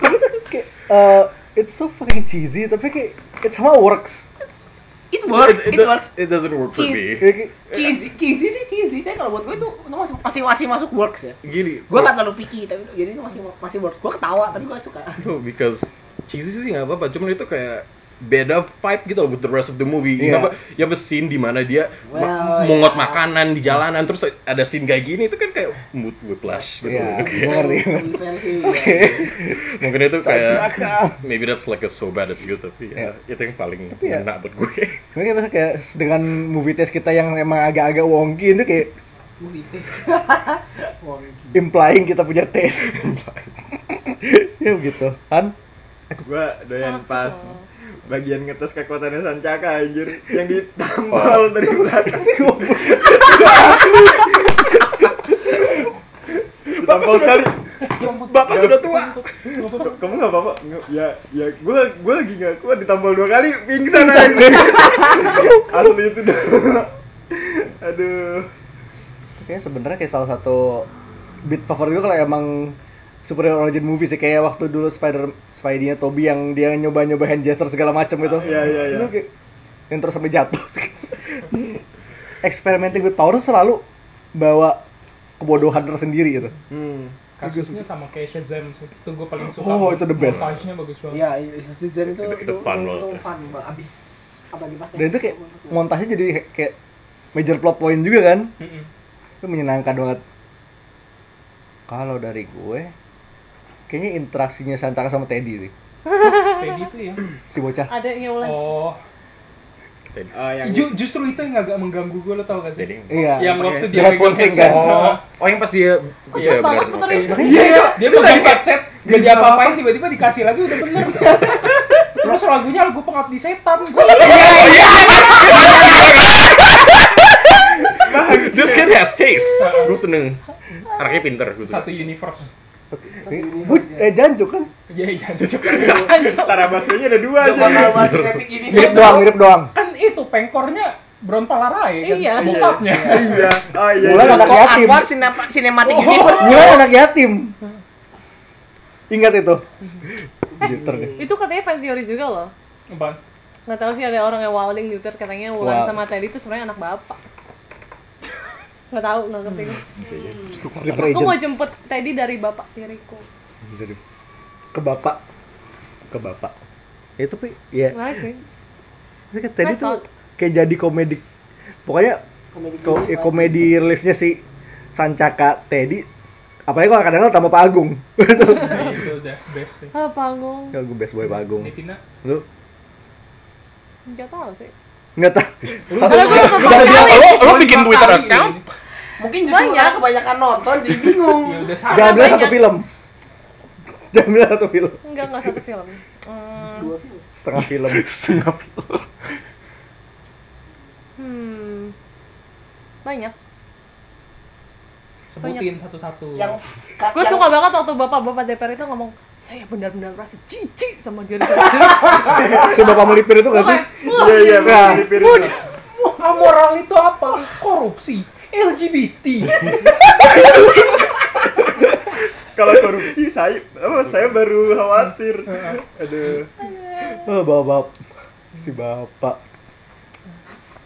Tapi tuh kayak, eh, it's so fucking cheesy, tapi kayak, it somehow works. It works, It, it, do- works. it doesn't work for me. Ya, kayak, Cheesy, cheesy sih cheesy. Tapi kalau buat gue itu itu masih masih, masih masuk works ya. Gini, Gue nggak terlalu picky, tapi jadi itu masih masih works. Gue ketawa, tapi gue suka. No, because cheesy sih nggak apa-apa. Cuman itu kayak beda vibe gitu loh with the rest of the movie. Iya. Apa, ya apa scene di mana dia ma- Well, mungut iya. makanan di jalanan terus ada scene kayak gini itu kan kayak mood whiplash gitu. Iya, Kayak- gue ngerti. Versi Mungkin itu kayak Sancaka. maybe that's like a so bad it's good tapi ya, itu yang paling Tapi ya- enak buat gue. Tapi kayak masa kayak dengan movie test kita yang emang agak-agak wonky itu kayak movie test. implying kita punya taste. ya begitu. Kan gua doyan Apa pas tuh? bagian ngetes kekuatannya Sancaka anjir yang ditampol dari belakang Bapak Tampol sudah kali Bapak sudah tua. kamu nggak apa-apa Nggak- ya ya gua gua lagi nggak kuat ditampol dua kali pingsan anjir asli itu dah aduh Kayaknya sebenarnya kayak salah satu beat favorit gue kalau emang superhero origin movie sih kayak waktu dulu Spider Spidey-nya Toby yang dia nyoba-nyoba hand gesture segala macam gitu. Iya, iya, iya. Itu kayak- Yang terus sampai jatuh. Experimenting with power tuh selalu bawa kebodohan tersendiri gitu. hmm. Kasusnya sama kayak Shazam sih. Itu gue paling suka. Oh, itu the best. Montage-nya bagus banget. Iya, iya, season itu Itu- itu fun banget. Oh. Itu fun banget. Abis apalagi pas Dan itu kayak montasnya jadi kayak major plot point juga kan. Mm-mm. Itu menyenangkan banget. Kalau dari gue kayaknya interaksinya Santaka sama Teddy sih. Kayak gitu ya. Si bocah. Ada yang ulang. Oh, Ah, Oh, yang Ju- justru itu yang agak mengganggu gue lo tau gak sih? Jadi- Iya. Yang Pakai- waktu dia Dengan megang folding, headset. kan? Oh, Oh yang pas dia iya tangan benar. puterin. oke. Iya, iya. Dia megang headset, gak diapa-apain, tiba-tiba dikasih lagi udah bener. Terus lagunya lagu pengabdi setan. Gue This kid has taste. Gue seneng. Anaknya pinter gue satu suka. universe. Bu, eh Janjo kan? Iya, iya. lucu. Tara Basronya ada dua aja bakal masih epic ini. Mirip doang, mirip doang. Kan itu pengkornya Bron Palarae kan? Iya. Bokapnya. iya oh iya Mulan iya. anak Kok yatim. Akbar sinema- sinematik Oh. ini Mulan anak yatim. Ingat itu. Jitter iya. deh. Itu katanya fan teori juga loh. Apaan? Nggak tahu sih ada orang yang wilding di Twitter katanya Wulan Wow. sama Teddy itu sebenarnya anak bapak. Nggak tahu, nggak ngerti. Sleeper Aku mau agent. jemput Teddy dari bapak tiriku. Jadi, Ke bapak. Ke bapak. Ya, tapi ya Menarik sih. tapi kan tadi tuh Nice thought. kayak jadi komedi. Pokoknya komedi ko- ya, komedi reliefnya si Sancaka Teddy apalagi kalau kadang-kadang tambah Pak Agung. Nah, Iya. itu udah best sih. Ah, panggung. Kalau gue best boy Pak Agung. Nitina, Lu Nggak tahu sih. enggak tahu. Satu Karena gue nonton Kalau dua dia- kali. Lo lo Dua bikin kali. Twitter account? mungkin justru Banyak. orang kebanyakan nonton jadi bingung ya udah jangan salah. bilang satu banyak. film. Jangan bilang satu film. Enggak, enggak satu film. Hmm, Dua film. Setengah film. hmm. Banyak. Sebutin satu-satu. yang Gue yang- suka banget waktu bapak-bapak DPR itu ngomong saya benar-benar merasa jijik sama diri saya. Si bapak melipir itu nggak sih? Kayak, "Wah, iya iya Nah. mirip-mirip itu. Amoral itu apa? Korupsi. LGBT. kalau korupsi saya apa saya baru khawatir aduh Oh, bapak. Si bapak.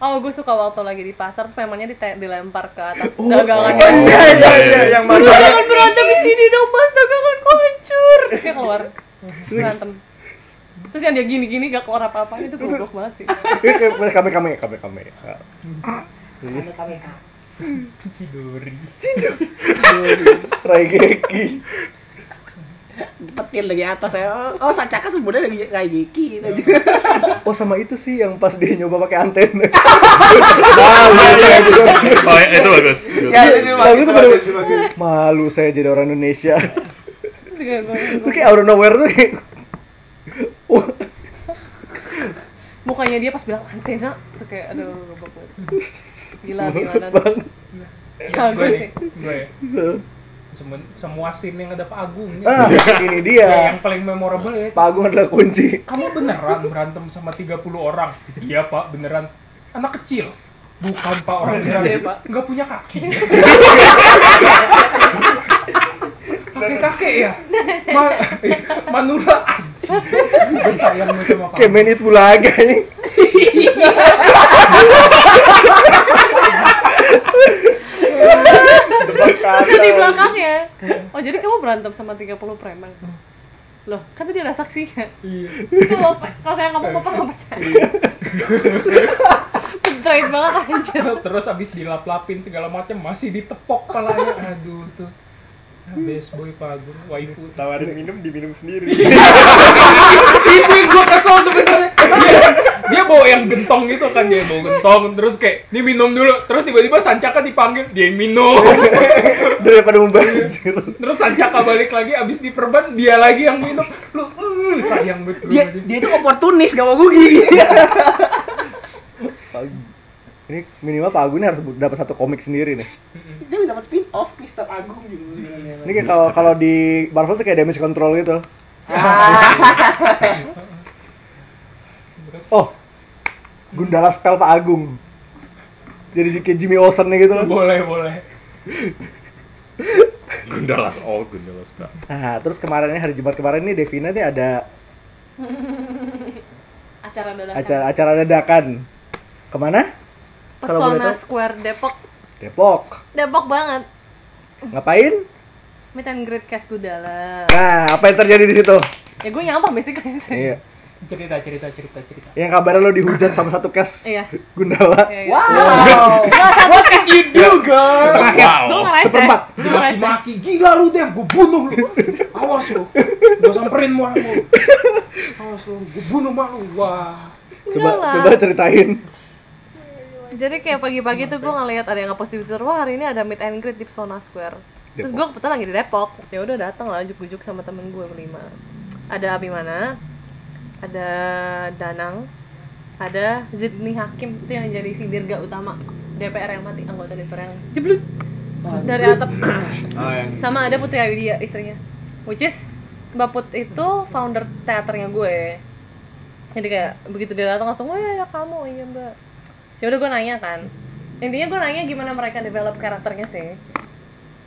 Oh, gue suka waktu lagi di pasar, terus memangnya dite- dilempar ke atas Oh, dagangan. oh, dia. iya iya iya yang Udah mana jangan berantem di sini dong, mas daganganku hancur. Terus dia keluar, Terus berantem. Terus yang dia gini-gini gak keluar apa-apa itu goblok banget sih. Kami kami kami kami. Cidori. Raigeki. petir dari atas saya oh, oh Sancaka sebenarnya dari Raigeki gitu Ya, Oh sama itu sih yang pas dia nyoba pakai antena. Oh ya, itu bagus. ya itu Kalau itu baru malu saya jadi orang Indonesia. Terus juga gue Itu kayak out of nowhere tuh kayak. Wah. mukanya dia pas bilang Athena tuh kayak aduh goblok banget gila gimana tuh jago Gue sih nih, gue ya. Semen- semua scene yang ada Pak Agung ya. ah ini Kayak yang dia paling memorable ya Pak Agung adalah kunci kamu beneran berantem sama 30 orang iya pak beneran anak kecil bukan pak orang beneran Iya, Pak. Iya. nggak punya kaki kakek kakek ya Ma manula anjing Gue sayang banget sama kayak kamu main itu lagi anjing. Tebak kata. di belakangnya oh jadi kamu berantem sama 30 preman loh kan tadi ada saksinya Iya. kalau kalau saya ngomong bapak nggak percaya Straight banget anjir terus abis dilap-lapin segala macam masih ditepok palanya aduh tuh best boy pak Agung waifu Tawarin minum, diminum sendiri. itu yang gue kesel sebenarnya dia, dia bawa yang gentong gitu kan dia bawa gentong terus kayak ini minum dulu terus tiba-tiba sancaka dipanggil dia yang minum daripada membazir terus sancaka balik lagi abis diperban dia lagi yang minum lu mm, sayang banget lu dia dia tuh oportunis gak mau rugi ini minimal Pak Agung ini harus dapat satu komik sendiri nih dia bisa dapat spin off Mister Agung gitu ini kayak kalau kalau di Marvel tuh kayak damage control gitu Terus, oh Gundala spell Pak Agung jadi kayak Jimmy Olsen nih gitu boleh boleh Gundalas all, Gundalas back. nah terus kemarin ini, hari Jumat kemarin nih Devina nih ada acara dadakan acara acara dadakan kemana kalau boleh Pesona tahu. Square Depok Depok Depok banget ngapain meet and greet Cash Gudala nah apa yang terjadi di situ ya gue nyampah basically sih iya cerita cerita cerita cerita yang kabarnya lo dihujat sama satu cash Iya. Gundala Ya, ya. wow what did you do girl setengah cash Gue ngerasa Seperempat. Gue ngerasa maki gila lu Dev gue bunuh lu awas lu gue samperin murah lu awas lu gue bunuh malu wah coba Gundala. coba ceritain Jadi kayak pagi-pagi tuh gue ngeliat ada yang ngepost di Twitter, wah hari ini ada meet and greet di Pesona Square. Terus gue kebetulan lagi di Depok. Ya udah datang lah ujuk-ujuk sama temen gue berlima. Ada Abimana, ada Danang, ada Zidni Hakim itu yang jadi si dirga utama DPR yang mati anggota DPR yang jeblut dari atap Oh, yang sama ada Putri Ayudhya istrinya which is Mbak Put itu founder teaternya gue jadi kayak begitu dia datang langsung wah ada kamu iya mbak ya udah gue nanya kan intinya gue nanya gimana mereka develop karakternya sih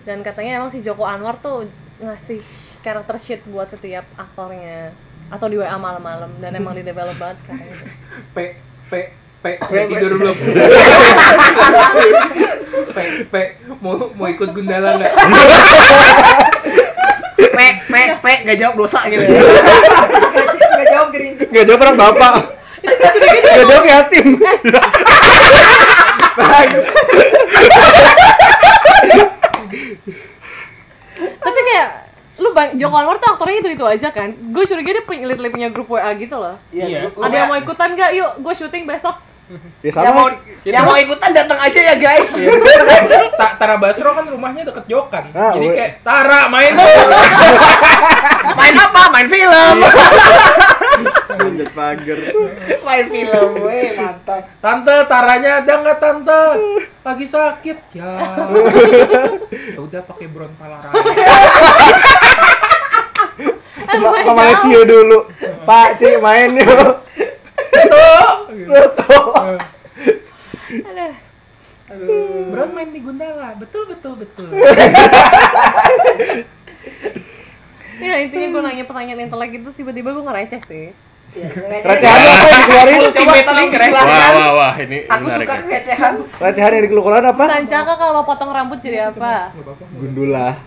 dan katanya emang si Joko Anwar tuh ngasih karakter sheet buat setiap aktornya atau di WA malam-malam dan emang di develop banget kan. kayaknya p p p udah tidur belum p p mau mau ikut gundala nggak pe pe pe gak jawab dosa gitu gak, gak jawab gering nggak jawab orang bapak nggak jawab yatim tapi kayak lu bang Joko Anwar tuh aktornya itu itu aja kan gue curiga dia penyelit punya grup WA gitu loh Iya. ada yang mau ikutan gak yuk gue syuting besok ya yang mau sama sih. yang mau ikutan datang aja ya guys Ta- Tara Basro kan rumahnya deket Jokan. Ah, jadi we- kayak Tara main main apa main film loncat pagar. main film weh mantap Tante Taranya ada nggak Tante? Lagi sakit. Ya. Ya udah pakai brontalaran. sama sama Alessio dulu Pak Cik main yuk Tuh, tuh. Aduh. Bron main di Gundala. Betul betul betul. Ya intinya gue nanya pertanyaan intelek itu tiba-tiba gue ngereceh sih Recehan lu apa yang dikeluarin? coba tolong Wah, jelaskan wah, wah, ini ini aku menarik. suka pelecehan Recehan yang dikeluarin apa? Sancaka kalau potong rambut jadi apa? Gundula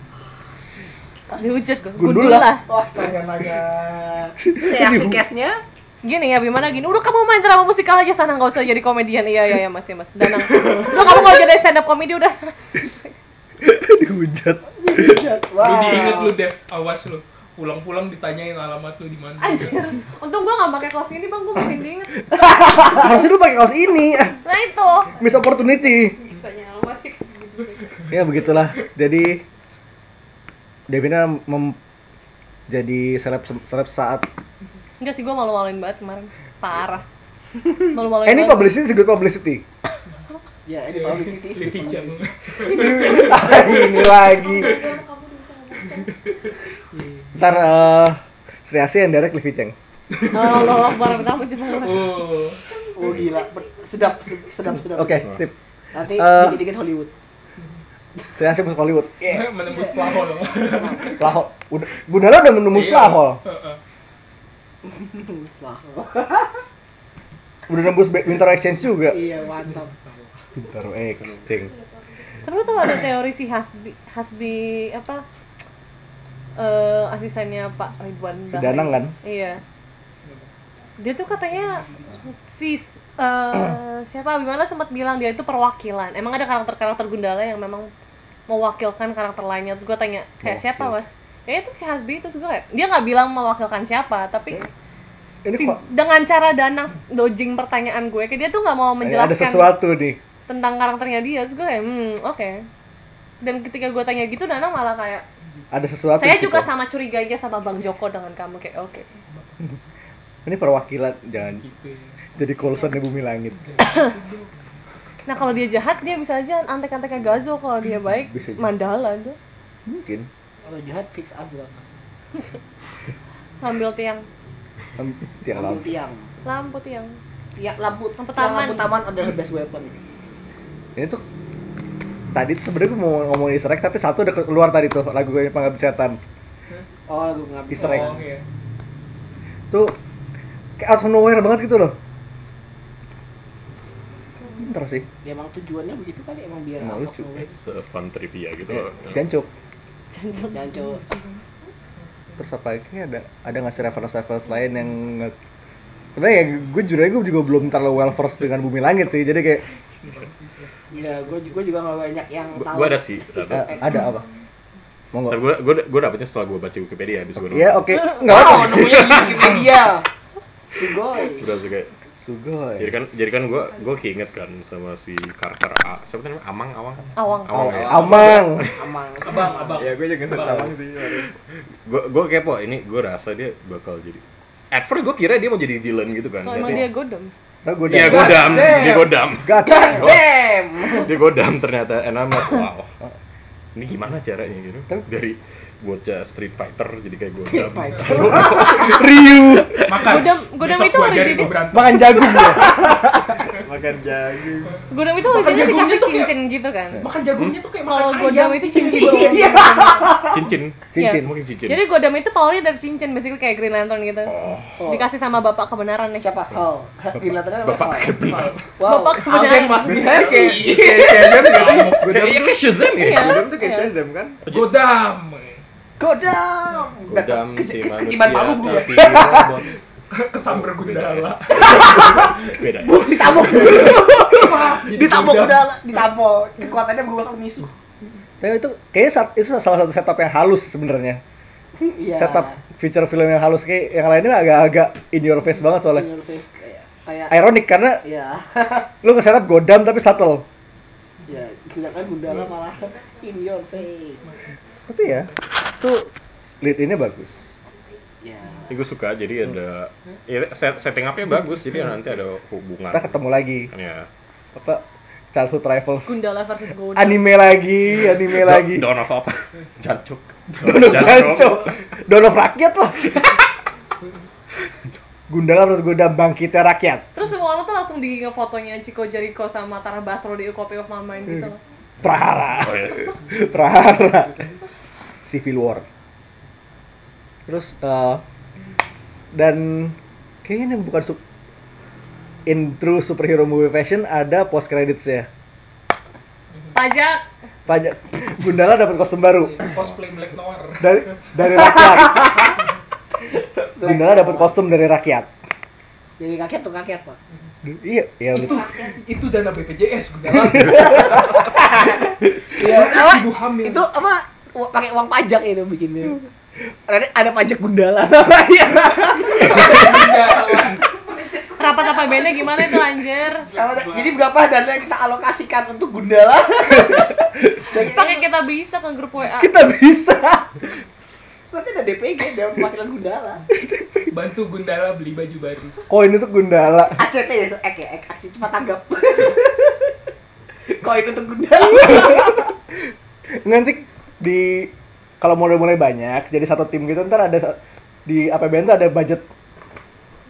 Dihujat gue, Gundula. gundula wah astaga naga reaksi case-nya Gini ya, gimana gini, udah kamu main drama musikal aja sana, gak usah jadi komedian Iya, iya, iya mas, iya mas Danang, udah kamu gak jadi stand up comedy udah dihujat Lu wah diinget lu deh. Awas lu. Pulang-pulang ditanyain alamat lu di mana. Anjir, untung gue gak pakai kaos ini bang, gue makin diinget harusnya lu pakai kaos ini ah, Nah itu miss opportunity Tanya alamat ya, kaos gini. ya begitulah jadi Devina mem jadi seleb seleb saat Enggak sih, gue malu-maluin banget kemarin Parah malu-malu Eh, ini publicity is good publicity. Ya, ini publicity is good Kitchen. publicity. ini lagi. Ntar eh Sri Asih yang direct Livi Cheng. Oh, Allah Akbar, pertama itu baru. Oh. Oh gila, Pe- sedap, se- sedap, sedap. Oke, sip. Nanti Eh. dikit-dikit Hollywood. Sri Asih masuk Hollywood. Yeah. menembus plafon. Lahol. Udah, Gundala udah menembus Lahol. Iya. Heeh. Wah, Udah nembus Be- Winter Exchange juga. iya mantap. Winter Exchange. Terus tuh ada teori si Hasbi, Hasbi apa? eh asistennya Pak Ridwan Si Bahri. Danang kan? Iya. Dia tuh katanya si eh, siapa Abimana sempat bilang dia itu perwakilan. Emang ada karakter-karakter Gundala yang memang mewakilkan karakter lainnya. Terus gue tanya kayak siapa mas? Ya itu si Hasbi itu juga. Dia nggak bilang mewakilkan siapa, tapi Ini si- kok dengan cara Danang dodging pertanyaan gue, kayak dia tuh nggak mau ini ada menjelaskan sesuatu nih. tentang karakternya dia. Terus gue kayak, hmm oke. Dan ketika gue tanya gitu, Danang malah kayak Ada sesuatu. saya di situ. juga sama curiganya sama Bang Joko dengan kamu kayak oke. Ini perwakilan jangan Gitu ya. jadi Coulson di bumi langit. Nah kalau dia jahat dia bisa aja antek-anteknya Gazo kalau dia baik Bisa aja. Mandala tuh Mungkin. Kalau jahat fix Azrax. ngambil tiang Em, Iya, Tiang Lampu laut. tiang. lampu tiang. Tiang lampu, Lampu tiang lampu Iya, taman. taman adalah best weapon. Ini tuh tadi tuh sebenarnya gue mau ngomong Easter egg tapi satu udah keluar tadi tuh lagu gue pengabdi setan Oh, lu nggak bisa. Easter egg. Oh, iya. tuh kayak out of nowhere banget gitu loh. Pinter sih, Ya, emang tujuannya begitu kali emang biar Emang out of lucu. nowhere. It's a fun ya. trivia gitu loh. jancuk. Jancuk. Dan cowok Terus apa lagi ada ada ngasih reference-reference lain yang nge- Sebenernya ya gue jujur aja gue juga belum terlalu well versed dengan bumi langit sih Jadi kayak Ya, gue juga juga nggak banyak yang Gua- tahu. gua ada sih, Easter eh, egg. ada apa? Monggo Ntar gue gue gue dapetnya setelah gue baca Wikipedia habis gue Iya oke, enggak apa Wow, Oh, nemunya di Wikipedia. Sugoi. Udah sih kayak jadi Sugoi kan jadi kan gue gue keinget kan sama si karakter A, siapa namanya Amang Awang Awang. Awang ya. Amang Amang. Abang, abang. ya gue juga Abang. sama sih Gue gue kepo ini gue rasa dia bakal jadi at first gue kira dia mau jadi villain gitu kan. So emang dia Ternyata- godam. Tau gue Iya godam, Damn. dia godam, God God damn. dia godam ternyata. And I'm like, wow, ini gimana caranya gitu? Dari bocah Street Fighter jadi kayak godam. Kan? Ryu Makan. Godam- godam Besok itu gua ajarin originnya- lu berantem. Makan jagung dia makan jagung Godam itu originnya jagungnya dikasih tuh kayak- cincin gitu kan. Makan jagungnya tuh kayak Kalau makan godam Iya. Kan ayam. itu cincin. Iya. Cincin, Cincin. mungkin cincin. Jadi godam itu powernya dari cincin, basically kayak Green Lantern gitu. Oh, Oh. Dikasih sama bapak kebenaran nih. Siapa? Hal. Green Lantern apa? Bapak kebenaran. Wow. Bapak kebenaran. Alden Mas. biasanya kayak kayak Shazam gak sih godam Iya, kayak kayak Shazam Iya. ya? godam tuh kayak Iya. Shazam kan Godam. Godam. Godam si Ke- ke- manusia Iman Palu dulu ya. tapi robot. Kesamber gundala. Beda. ya? Ditabok dulu. Ditabok Godam. udah ditabok. Kekuatannya berubah ke misu. Tapi itu kayaknya saat- itu salah satu setup yang halus sebenarnya. Iya. Setup feature film yang halus kayak yang lainnya agak-agak in your face banget soalnya. In your face, kayak- Kayak Ironik karena Iya. lu nge-setup godam tapi subtle. Ya, sedangkan Gundala malah in your face. Tapi ya, tuh lead ini bagus. Ya. Ini gue suka jadi ada ya, set, setting up-nya bagus jadi nanti ada hubungan. Kita ketemu lagi Ya. apa Childhood Rivals. Gundala versus Godam. Anime lagi, anime Do- lagi. Dawn of apa? Jancuk. Dawn of Jancok. Dawn of Rakyat lah. Gundala terus godam bangkitnya rakyat. Terus semua orang tuh langsung di fotonya Chico Jericho sama Tara Basro di A Copy of My Mind gitu loh. Prahara. Oh, iya. Prahara. Civil War. Terus eh, dan kayaknya ini bukan sub in true superhero movie fashion ada post credits ya. Pajak. Banyak Gundala dapat kostum baru Cosplay Black Noir. dari dari rakyat. Gundala dapat kostum dari rakyat. Jadi kaget tuh kaget, Pak. Iya, iya. itu itu dana BPJS Gundala. Iya, apa? Ibu hamil. Itu apa? u- Pakai uang pajak itu bikinnya. Ada ada pajak Gundala ya? namanya. Rapat apa bandnya gimana itu anjir? Apa- Jadi berapa dana yang kita alokasikan untuk Gundala? Pakai kita bisa ke grup WA. Kita bisa. Berarti ada DPG, ada perwakilan Gundala. Bantu Gundala beli baju baru. Koin itu Gundala. ACT ya itu, ek ya, ek, aksi cepat tanggap. Koin untuk Gundala. Nanti di kalau mulai-mulai banyak, jadi satu tim gitu ntar ada sa- di APBN tuh ada budget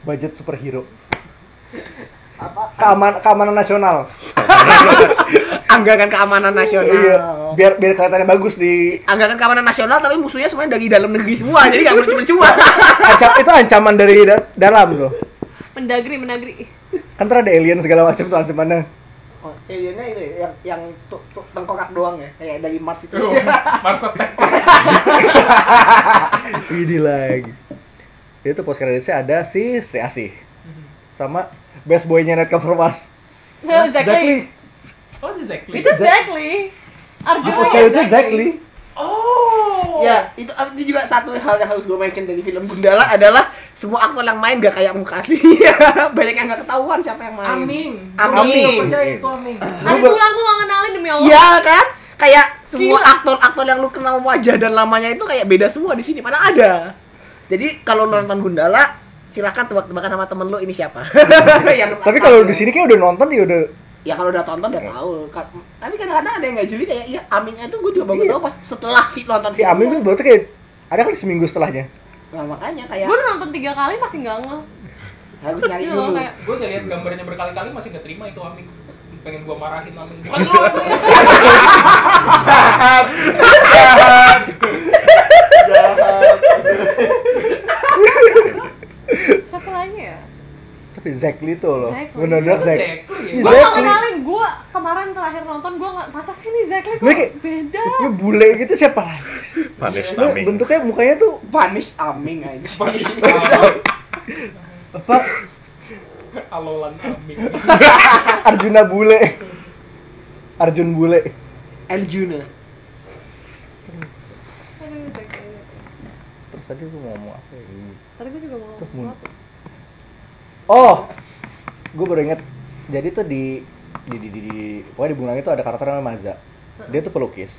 budget superhero. Apa? Keaman, keamanan nasional. Anggaran keamanan nasional. Iya, biar biar kelihatannya bagus di Anggaran keamanan nasional tapi musuhnya semuanya dari dalam negeri semua, jadi nggak percuma-percuma. ancam itu ancaman dari da- dalam loh. Mendagri, mendagri. Kan ntar ada alien segala macam tuh ancamannya. Oh, aliennya itu ya, yang yang tu- tu- tengkorak doang ya, kayak dari Mars itu. Tuh, Mars Attack. Ini lagi. Itu post creditsnya ada si Sri Asih sama best boy-nya Netcover Mas. Exactly. Oh, exactly. Itu exactly. Di Arjuna post ya, creditsnya exactly. Oh. Ya, itu ini juga satu hal yang harus gue mention dari film Gundala adalah semua aktor yang main gak kayak muka aslinya. Banyak yang gak ketahuan siapa yang main. Amin. Amin. Gua percaya itu amin. Ada Lu ba- tulang aku gak kenalin demi Allah. Ya. Iya kan? Kayak semua Gila. aktor-aktor yang lu kenal wajah dan lamanya itu kayak beda semua di sini. Mana ada? Jadi kalau lu nonton Gundala, silahkan tebak-tebakan sama temen lu ini siapa. Yang- Tapi kalau di sini kayak udah nonton ya udah ya kalau udah tonton udah tahu. Ka- Tapi kadang-kadang ada yang nggak jeli kayak iya Aminnya tuh gue juga baru tahu pas setelah fi- nonton si Amin tuh berarti kayak ada kan seminggu setelahnya. Nah, makanya kayak Gue udah nonton tiga kali masih gak ngeh. harus nyari Iya dulu. kayak Gue udah lihat gambarnya berkali-kali masih gak terima itu amin. Pengen gue marahin amin. Bukan lu, Amin. siapa lagi ya? Tapi Zack Lee tuh loh. Zack Lee. Benar-benar Itu Zack. exactly ya. Iya. Gue gak Exactly. kenalin, gue kemarin terakhir nonton gue gak, masa sih nih Zack Lee Mereka- kok beda? Lu bule gitu siapa lagi? sih? Punish Lu Taming. bentuknya mukanya tuh Vanish Aming aja. Punish Amin. apa? Alolan amin. Arjuna bule. Arjun bule. Eljuna. Aduh, Zack Lee. Terus tadi gue ngomong apa ya? Tadi gue juga mau ngomong Terus mun- sesuatu. Oh, gue baru inget. Jadi tuh di di di di, di pokoknya di Bunga Langit tuh ada karakter namanya Maza. Dia tuh pelukis.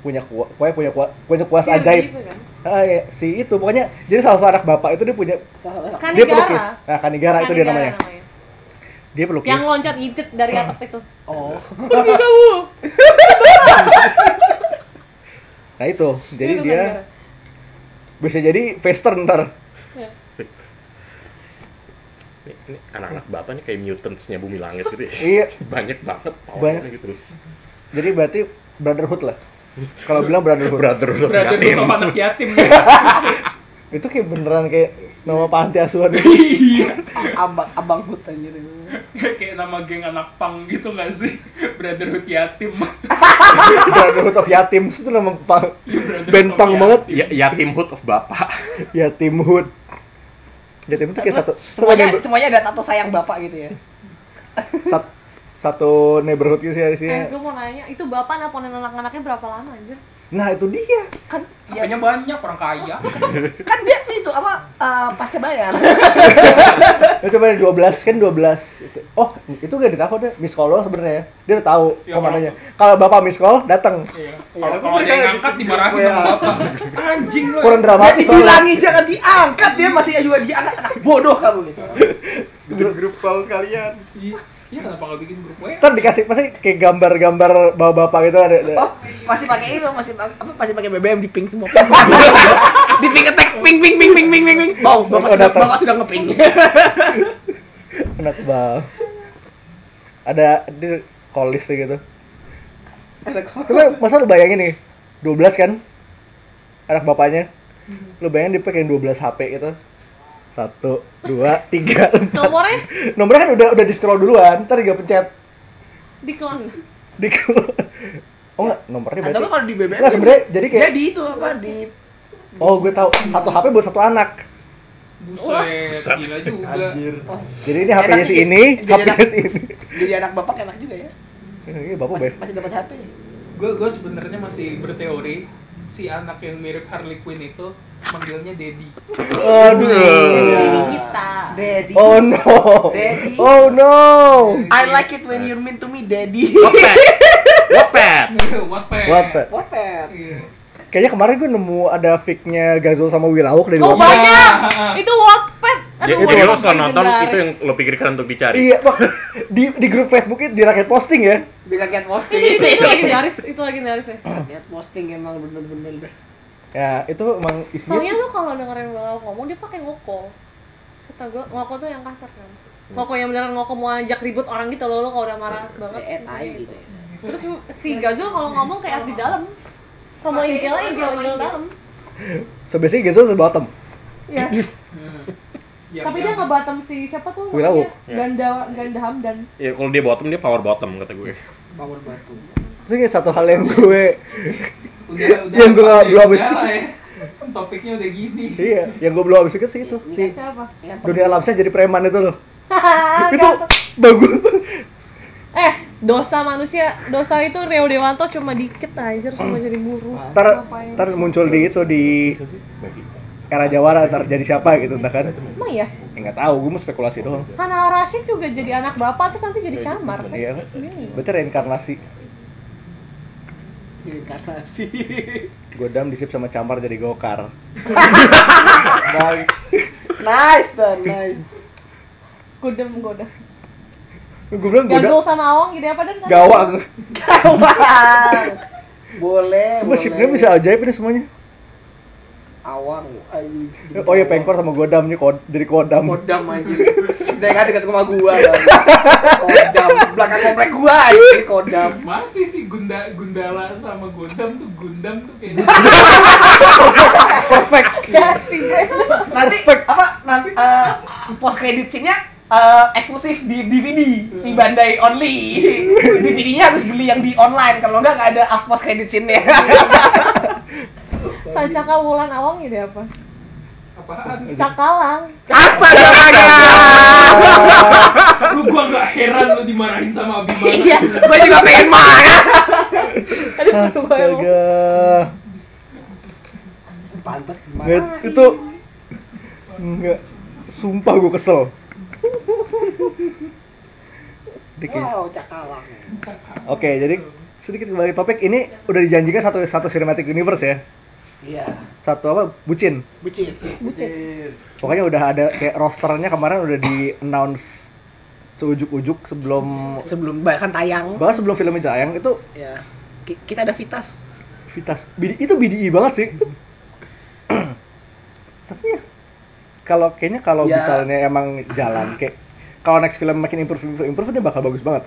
Punya kuat, pokoknya punya kuat, punya kuasa Sihir ajaib. gitu kan? Ah, iya, si itu pokoknya jadi salah satu anak bapak itu dia punya Salah. Kanigara. dia pelukis. Nah, Kanigara, itu dia namanya. Kanigara Ah. Dia pelukis. Yang loncat ngintip dari atap itu. Oh. Pergi kamu. Nah, itu. Jadi Itu dia Kanigara. bisa jadi Fester ntar. Ya. Ini- ini anak-anak bapak nih kayak mutants-nya bumi langit gitu ya. Iya. Banyak banget powernya Banyak. gitu. Jadi berarti brotherhood lah. Kalau bilang brotherhood. Brotherhood Berarti itu yatim. nama anak yatim. Itu kayak beneran kayak nama panti asuhan. Iya. Abang abang hut anjir. Kayak nama geng anak pang gitu gak sih? Brotherhood yatim. brotherhood of Yatim itu nama pang, Brotherhood band of pang Yatim. banget. Ya, yatim hood of bapak. Yatim Hood. Yatim itu kayak satu semuanya satu, semuanya ada tato sayang bapak gitu ya. sat- satu neighborhood gitu sih di sini. Eh, gue mau nanya, itu bapak nelponin anak-anaknya berapa lama anjir? Nah, itu dia. Kan ya, Hanya banyak orang kaya. kan dia itu apa eh, pasca bayar. Nah, coba deh, 12 kan 12 itu. Oh, itu gak ditahu deh. Miss call doang sebenarnya. Dia udah tahu Ya, komandonya. Kalau Bapak miss call datang. Iya. Kalau kalau ada yang ngangkat dimarahin Iya. sama bapak. Anjing lu. Kurang Dia dramatis. soalnya. dibilangi jangan diangkat dia masih juga diangkat anak bodoh kamu gitu. grup-grup call sekalian Iya, iya, kenapa nggak bikin grup WA? Ntar dikasih pasti kayak gambar-gambar bapak-bapak gitu ada. ada. Oh, masih pakai itu, masih pakai apa? Masih pakai BBM di ping semua. di ping attack, ping ping ping ping ping ping ping. Oh, Wow, bapak sudah datang. bapak sudah ngeping. Enak banget. Ada dia call list gitu. Ada kok. Coba masa lu bayangin nih, 12 kan? Anak bapaknya. Lu bayangin dia pakai 12 HP gitu. Satu, dua, tiga, empat. Nomornya Nomornya kan udah udah di scroll duluan, ntar dia pencet. diklon. Di Oh enggak, nomornya Atau berarti. nggak kalau di BBM? Enggak sebenarnya jadi kayak dia di itu apa di oh gue tahu satu HP buat satu anak. Buset, Buset. gila juga. anjir oh, Jadi ini HP-nya Enak si sih, ini, jadi HP-nya enak. si ini. jadi anak bapak enak juga ya. Iya, bapak Masih, baik. masih dapat HP. Gue gue sebenarnya masih berteori si anak yang mirip Harley Quinn itu manggilnya Daddy. Ini Aduh. kita. Daddy. Iya. Oh no. Daddy. Oh no. I like it when you're mean to me, Daddy. Wopet. Wopet. Wattpad. Wattpad. Wattpad. Wattpad. Iya. Kayaknya kemarin gue nemu ada fic-nya Gazul sama Wilawok dari Oh Wattpad. banyak, itu Wattpad. Jadi itu jadi lo orang setelah nonton legendaris. kan, itu yang lo pikirkan untuk dicari. Iya, wah, di di grup Facebook itu dirakit posting ya. Bisa cat Itu itu posting. itu legendaris, itu legendaris Ah, ya. Cat posting emang bener-bener. Ya, itu emang isinya Soalnya lu kalau dengerin Bella ngomong dia pakai ngoko. Kata gua ngoko tuh yang kasar kan. Hmm. Ngoko yang beneran ngoko mau ajak ribut orang gitu loh, lo kalau udah marah Iya, banget. DNA ngomongnya gitu. ya. Terus si Gazul kalau ngomong kayak abdi dalam. Romo Inggil, Inggil, Inggil dalam. so basically Gazul sebottom. Iya. Ya, Yang- Tapi dia yang- nggak bottom si siapa tuh? Wilawuk. namanya? Ganda Ganda Hamdan. Ya kalau dia bottom dia power bottom kata gue. power batu. Itu kayak satu hal yang gue Udah, udah. Yang gua udah, belum habis. udah lah ya. Topiknya udah gini. iya, yang gue belum habis pikir sih itu. Si Siapa? Ingat dunia alam saya jadi preman itu loh. Hahaha, itu gampang. bagus. Eh, dosa manusia, dosa itu Rio Dewanto cuma dikit anjir cuma jadi guru. Ntar, Ngapain? ntar muncul di itu di Bagi. era Jawara ntar jadi siapa gitu entah kan. Emang ya? Ya, nggak tahu, gue mau spekulasi doang. Kan Al Rashid juga jadi anak bapak terus nanti jadi camar kan? Iya. Iya. Berarti reinkarnasi. Inkarnasi. Godam disip sama Camar jadi gokar. Bang. Nice, dan nice. Godam godam. Gue bilang Gandul godam sama Awang jadi apa dan? gawang. Awang. Boleh. Semua boleh. shipnya bisa ajaib ini semuanya. Awang. ay- Oh iya pengkor sama godam nih kod dari kodam. Kodam anjir. Dia kan dekat rumah gua. Bang. Kodam belakang komplek gua anjir kodam. Masih sih Gunda Gundala sama Gundam tuh Gundam tuh kayak Perfect. Ya sih. Nanti apa nanti eh, post credit scene-nya eh, eksklusif di DVD di Bandai only. DVD-nya harus beli yang di online kalau enggak nggak ada ah, post credit scene-nya. Sancaka Wulan Awang jadi apa? apaan? Cakalang. Lu gua nggak heran lu dimarahin sama Abimana. Iya, gua juga pengen marah. Aduh, gua emang. Astaga. Pantas Nggak, gimana? itu enggak sumpah gue kesel. Dikit. Wow, cakalang. Oke, jadi sedikit kembali ke topik ini udah dijanjikan satu satu cinematic universe ya. Iya, Satu apa? Bucin. bucin. Bucin. Pokoknya udah ada kayak rosternya kemarin udah di announce seujuk-ujuk sebelum Oh, Sebelum bahkan tayang, bahkan sebelum filmnya tayang itu ya ki- kita ada Vitas. Vitas BD itu BDI banget sih. Tapi ya kalau kayaknya kalau Ya. misalnya emang jalan kayak kalau next film makin improve improve, improve dia bakal bagus banget.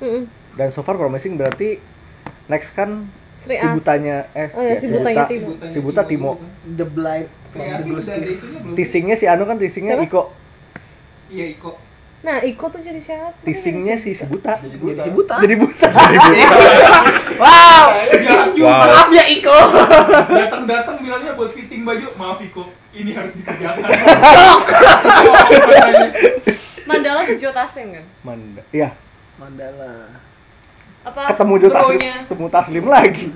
Mm-mm. Dan so far promising berarti next kan Sri si As. butanya eh Oh, ya, iya, si si butanya buta Timo. si gitu. buta Timo. The Blind Saya from the sih Blue udah Sky. ada isinya belum? Teasingnya si Anu kan teasingnya Siapa? Iko. Iya Iko. Nah, Iko tuh jadi siapa? Teasingnya si si buta. Jadi si buta. Jadi buta. Wow. Jangan juga Wow. Maaf ya Iko. Iya, datang-datang bilangnya buat fitting baju. Maaf Iko, ini harus dikerjakan. Jawab pertanyaannya. Mandala tuh Jo Taslim kan? Manda. Iya, Mandala. Apa ketemu Jo Taslim, bronya? ketemu Taslim lagi.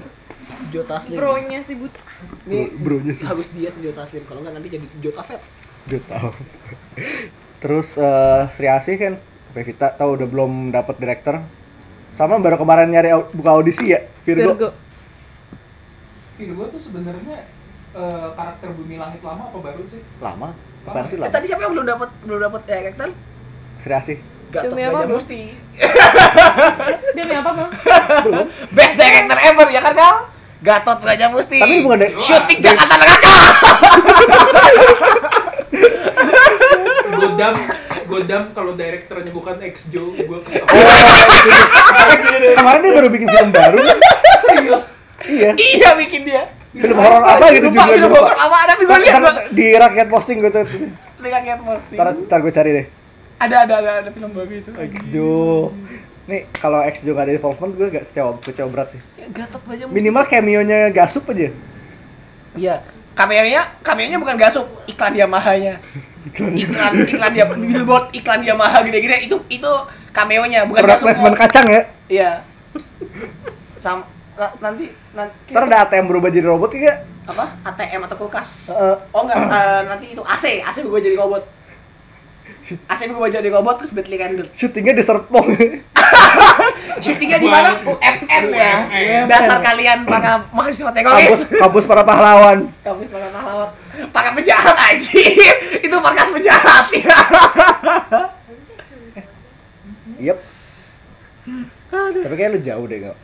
Jo Taslim. Bronya si Buta. Ini Bro- bronya sih. Harus diet Jo Taslim kalau enggak nanti jadi Jo Tafet. Udah tahu. Terus eh, Sri Asih kan Pevita tahu udah belum dapat director. Sama baru kemarin nyari au- buka audisi ya Virgo. Virgo. Virgo tuh sebenarnya eh, karakter Bumi Langit lama apa baru sih? Lama. Berarti Eh, lama. tadi siapa yang belum dapat belum dapat director? Sri Asih. Gatot Demi apa, Bro? Brajamusti. Demi apa, Bang? Best director ever ya kan Kal? Gatot Brajamusti. Tapi bukan dari Shooting Jakarta Neraka. Godam, Godam kalau direkturnya bukan ex Jo, gua kesel. kemarin dia baru bikin film baru. kan? Serius. iya. iya bikin dia. Film horor apa gitu lupa, juga film lupa. horor apa tapi gue Ntar- lihat ntar banget. di rakyat posting gue tuh. Dengan Cat Posting. Ntar, ntar gue cari deh. Ada ada ada ada film baru itu. Exjo. Nih kalau Exjo gak ada involvement gue gak kecewa, kecewa berat sih. Ya, Gatot Brajamusti. Minimal cameo-nya Gasup aja. Iya. Cameo-nya, cameo-nya bukan gasup, iklan Yamaha-nya. Iklan iklan dia billboard iklan Yamaha gede-gede itu itu cameo-nya, bukan Product gasup. placement kacang ya. Iya. Sam na- nanti nanti Ntar ada ATM berubah jadi robot ya. apa? ATM atau kulkas? Heeh. oh enggak, eh, nanti itu AC, AC gue jadi robot. AC gue jadi robot terus Bentley Candle. syutingnya di Serpong Syutingnya di mana? UMM ya. UMM. Dasar kalian para mahasiswa teroris. Kampus kampus para pahlawan. Kampus para pahlawan. Para penjahat aja. Itu markas penjahat ya. Yep. Tapi kayak lu jauh deh nggak.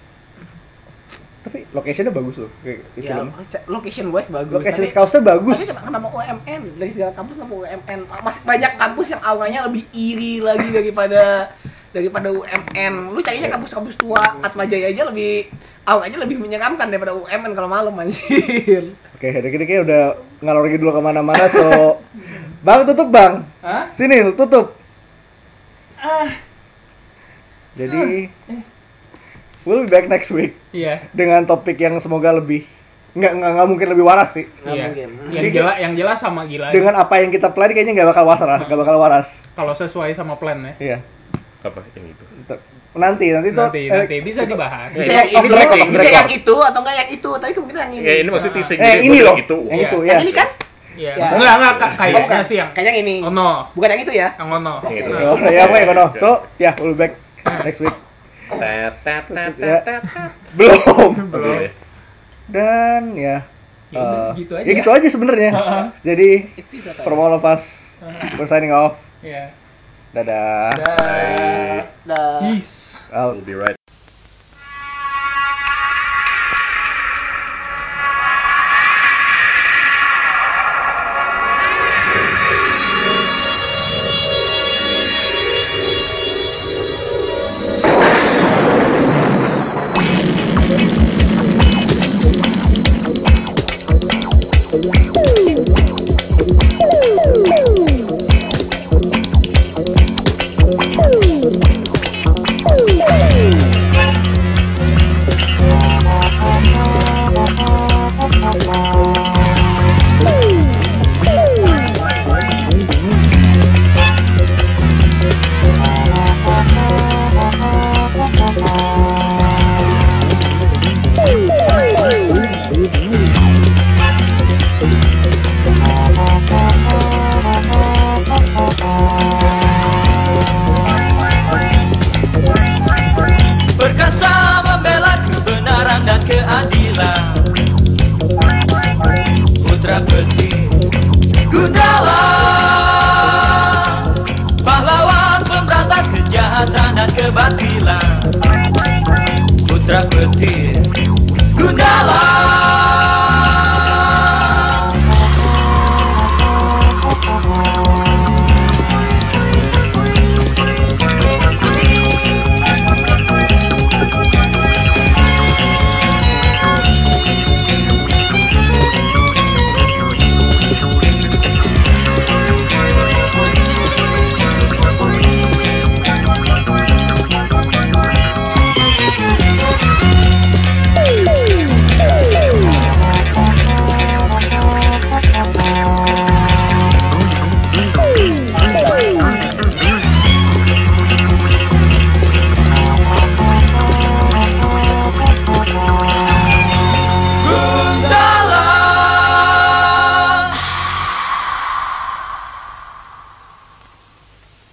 Tapi locationnya bagus loh. Kayak itu ya, kan. location wise bagus. Location tapi- scoutnya bagus. Tapi kenapa nama UMN dari segala kampus nama UMN masih banyak kampus yang awalnya lebih iri lagi daripada daripada UMN. Lu carinya kampus-kampus tua Atma Jaya aja lebih awalnya lebih menyeramkan daripada UMN kalau malam anjir. Oke, dari kini kayak udah ngalor gitu dulu kemana-mana so. bang tutup bang. Hah? Sini lu tutup. Jadi we'll be back next week Iya. dengan topik yang semoga lebih nggak nggak nggak mungkin lebih waras sih. Iya. mungkin. Yang jelas yang jelas sama gila. Dengan apa yang kita plan kayaknya nggak bakal waras, nggak bakal waras. Kalau sesuai sama plan ya. Iya. apa yang itu Ntar- Nanti nanti tuh Nanti eh, nanti bisa dibahas. Nah, Ini- Bisa yang ini ini, teasing, bisa teasing. yang itu atau enggak yang itu, tapi kemungkinan yang ini. ya ini maksudnya gitu. teasing Eh, jadi ini buat loh. yang itu Yang Iya. itu ya. Yang ini kan? Iya. Ya. Enggak enggak Kak. kayaknya bukan. sih yang Oh, Kayaknya yang ini. ono. Bukan yang itu ya. Yang Nah, ono. Yang itu. Oh, ya, apa ya, Kono? So, ya, we'll be back next week. Tet, tet, tet, Ya. tet, tet, tet. Iya. Belum. Oke. Belum. Dan ya, Ya eh, udah, gitu aja. Ya gitu aja sebenarnya. Heeh. Jadi, It's pizza from all of us, we're signing off. Iya. Dadah. Dah. Iya. Dah. Peace. Out. We'll be right Berkesama membela kebenaran dan keadilan Putra Peti Gundala Pahlawan pemberantas kejahatan dan kebatilan Putra Peti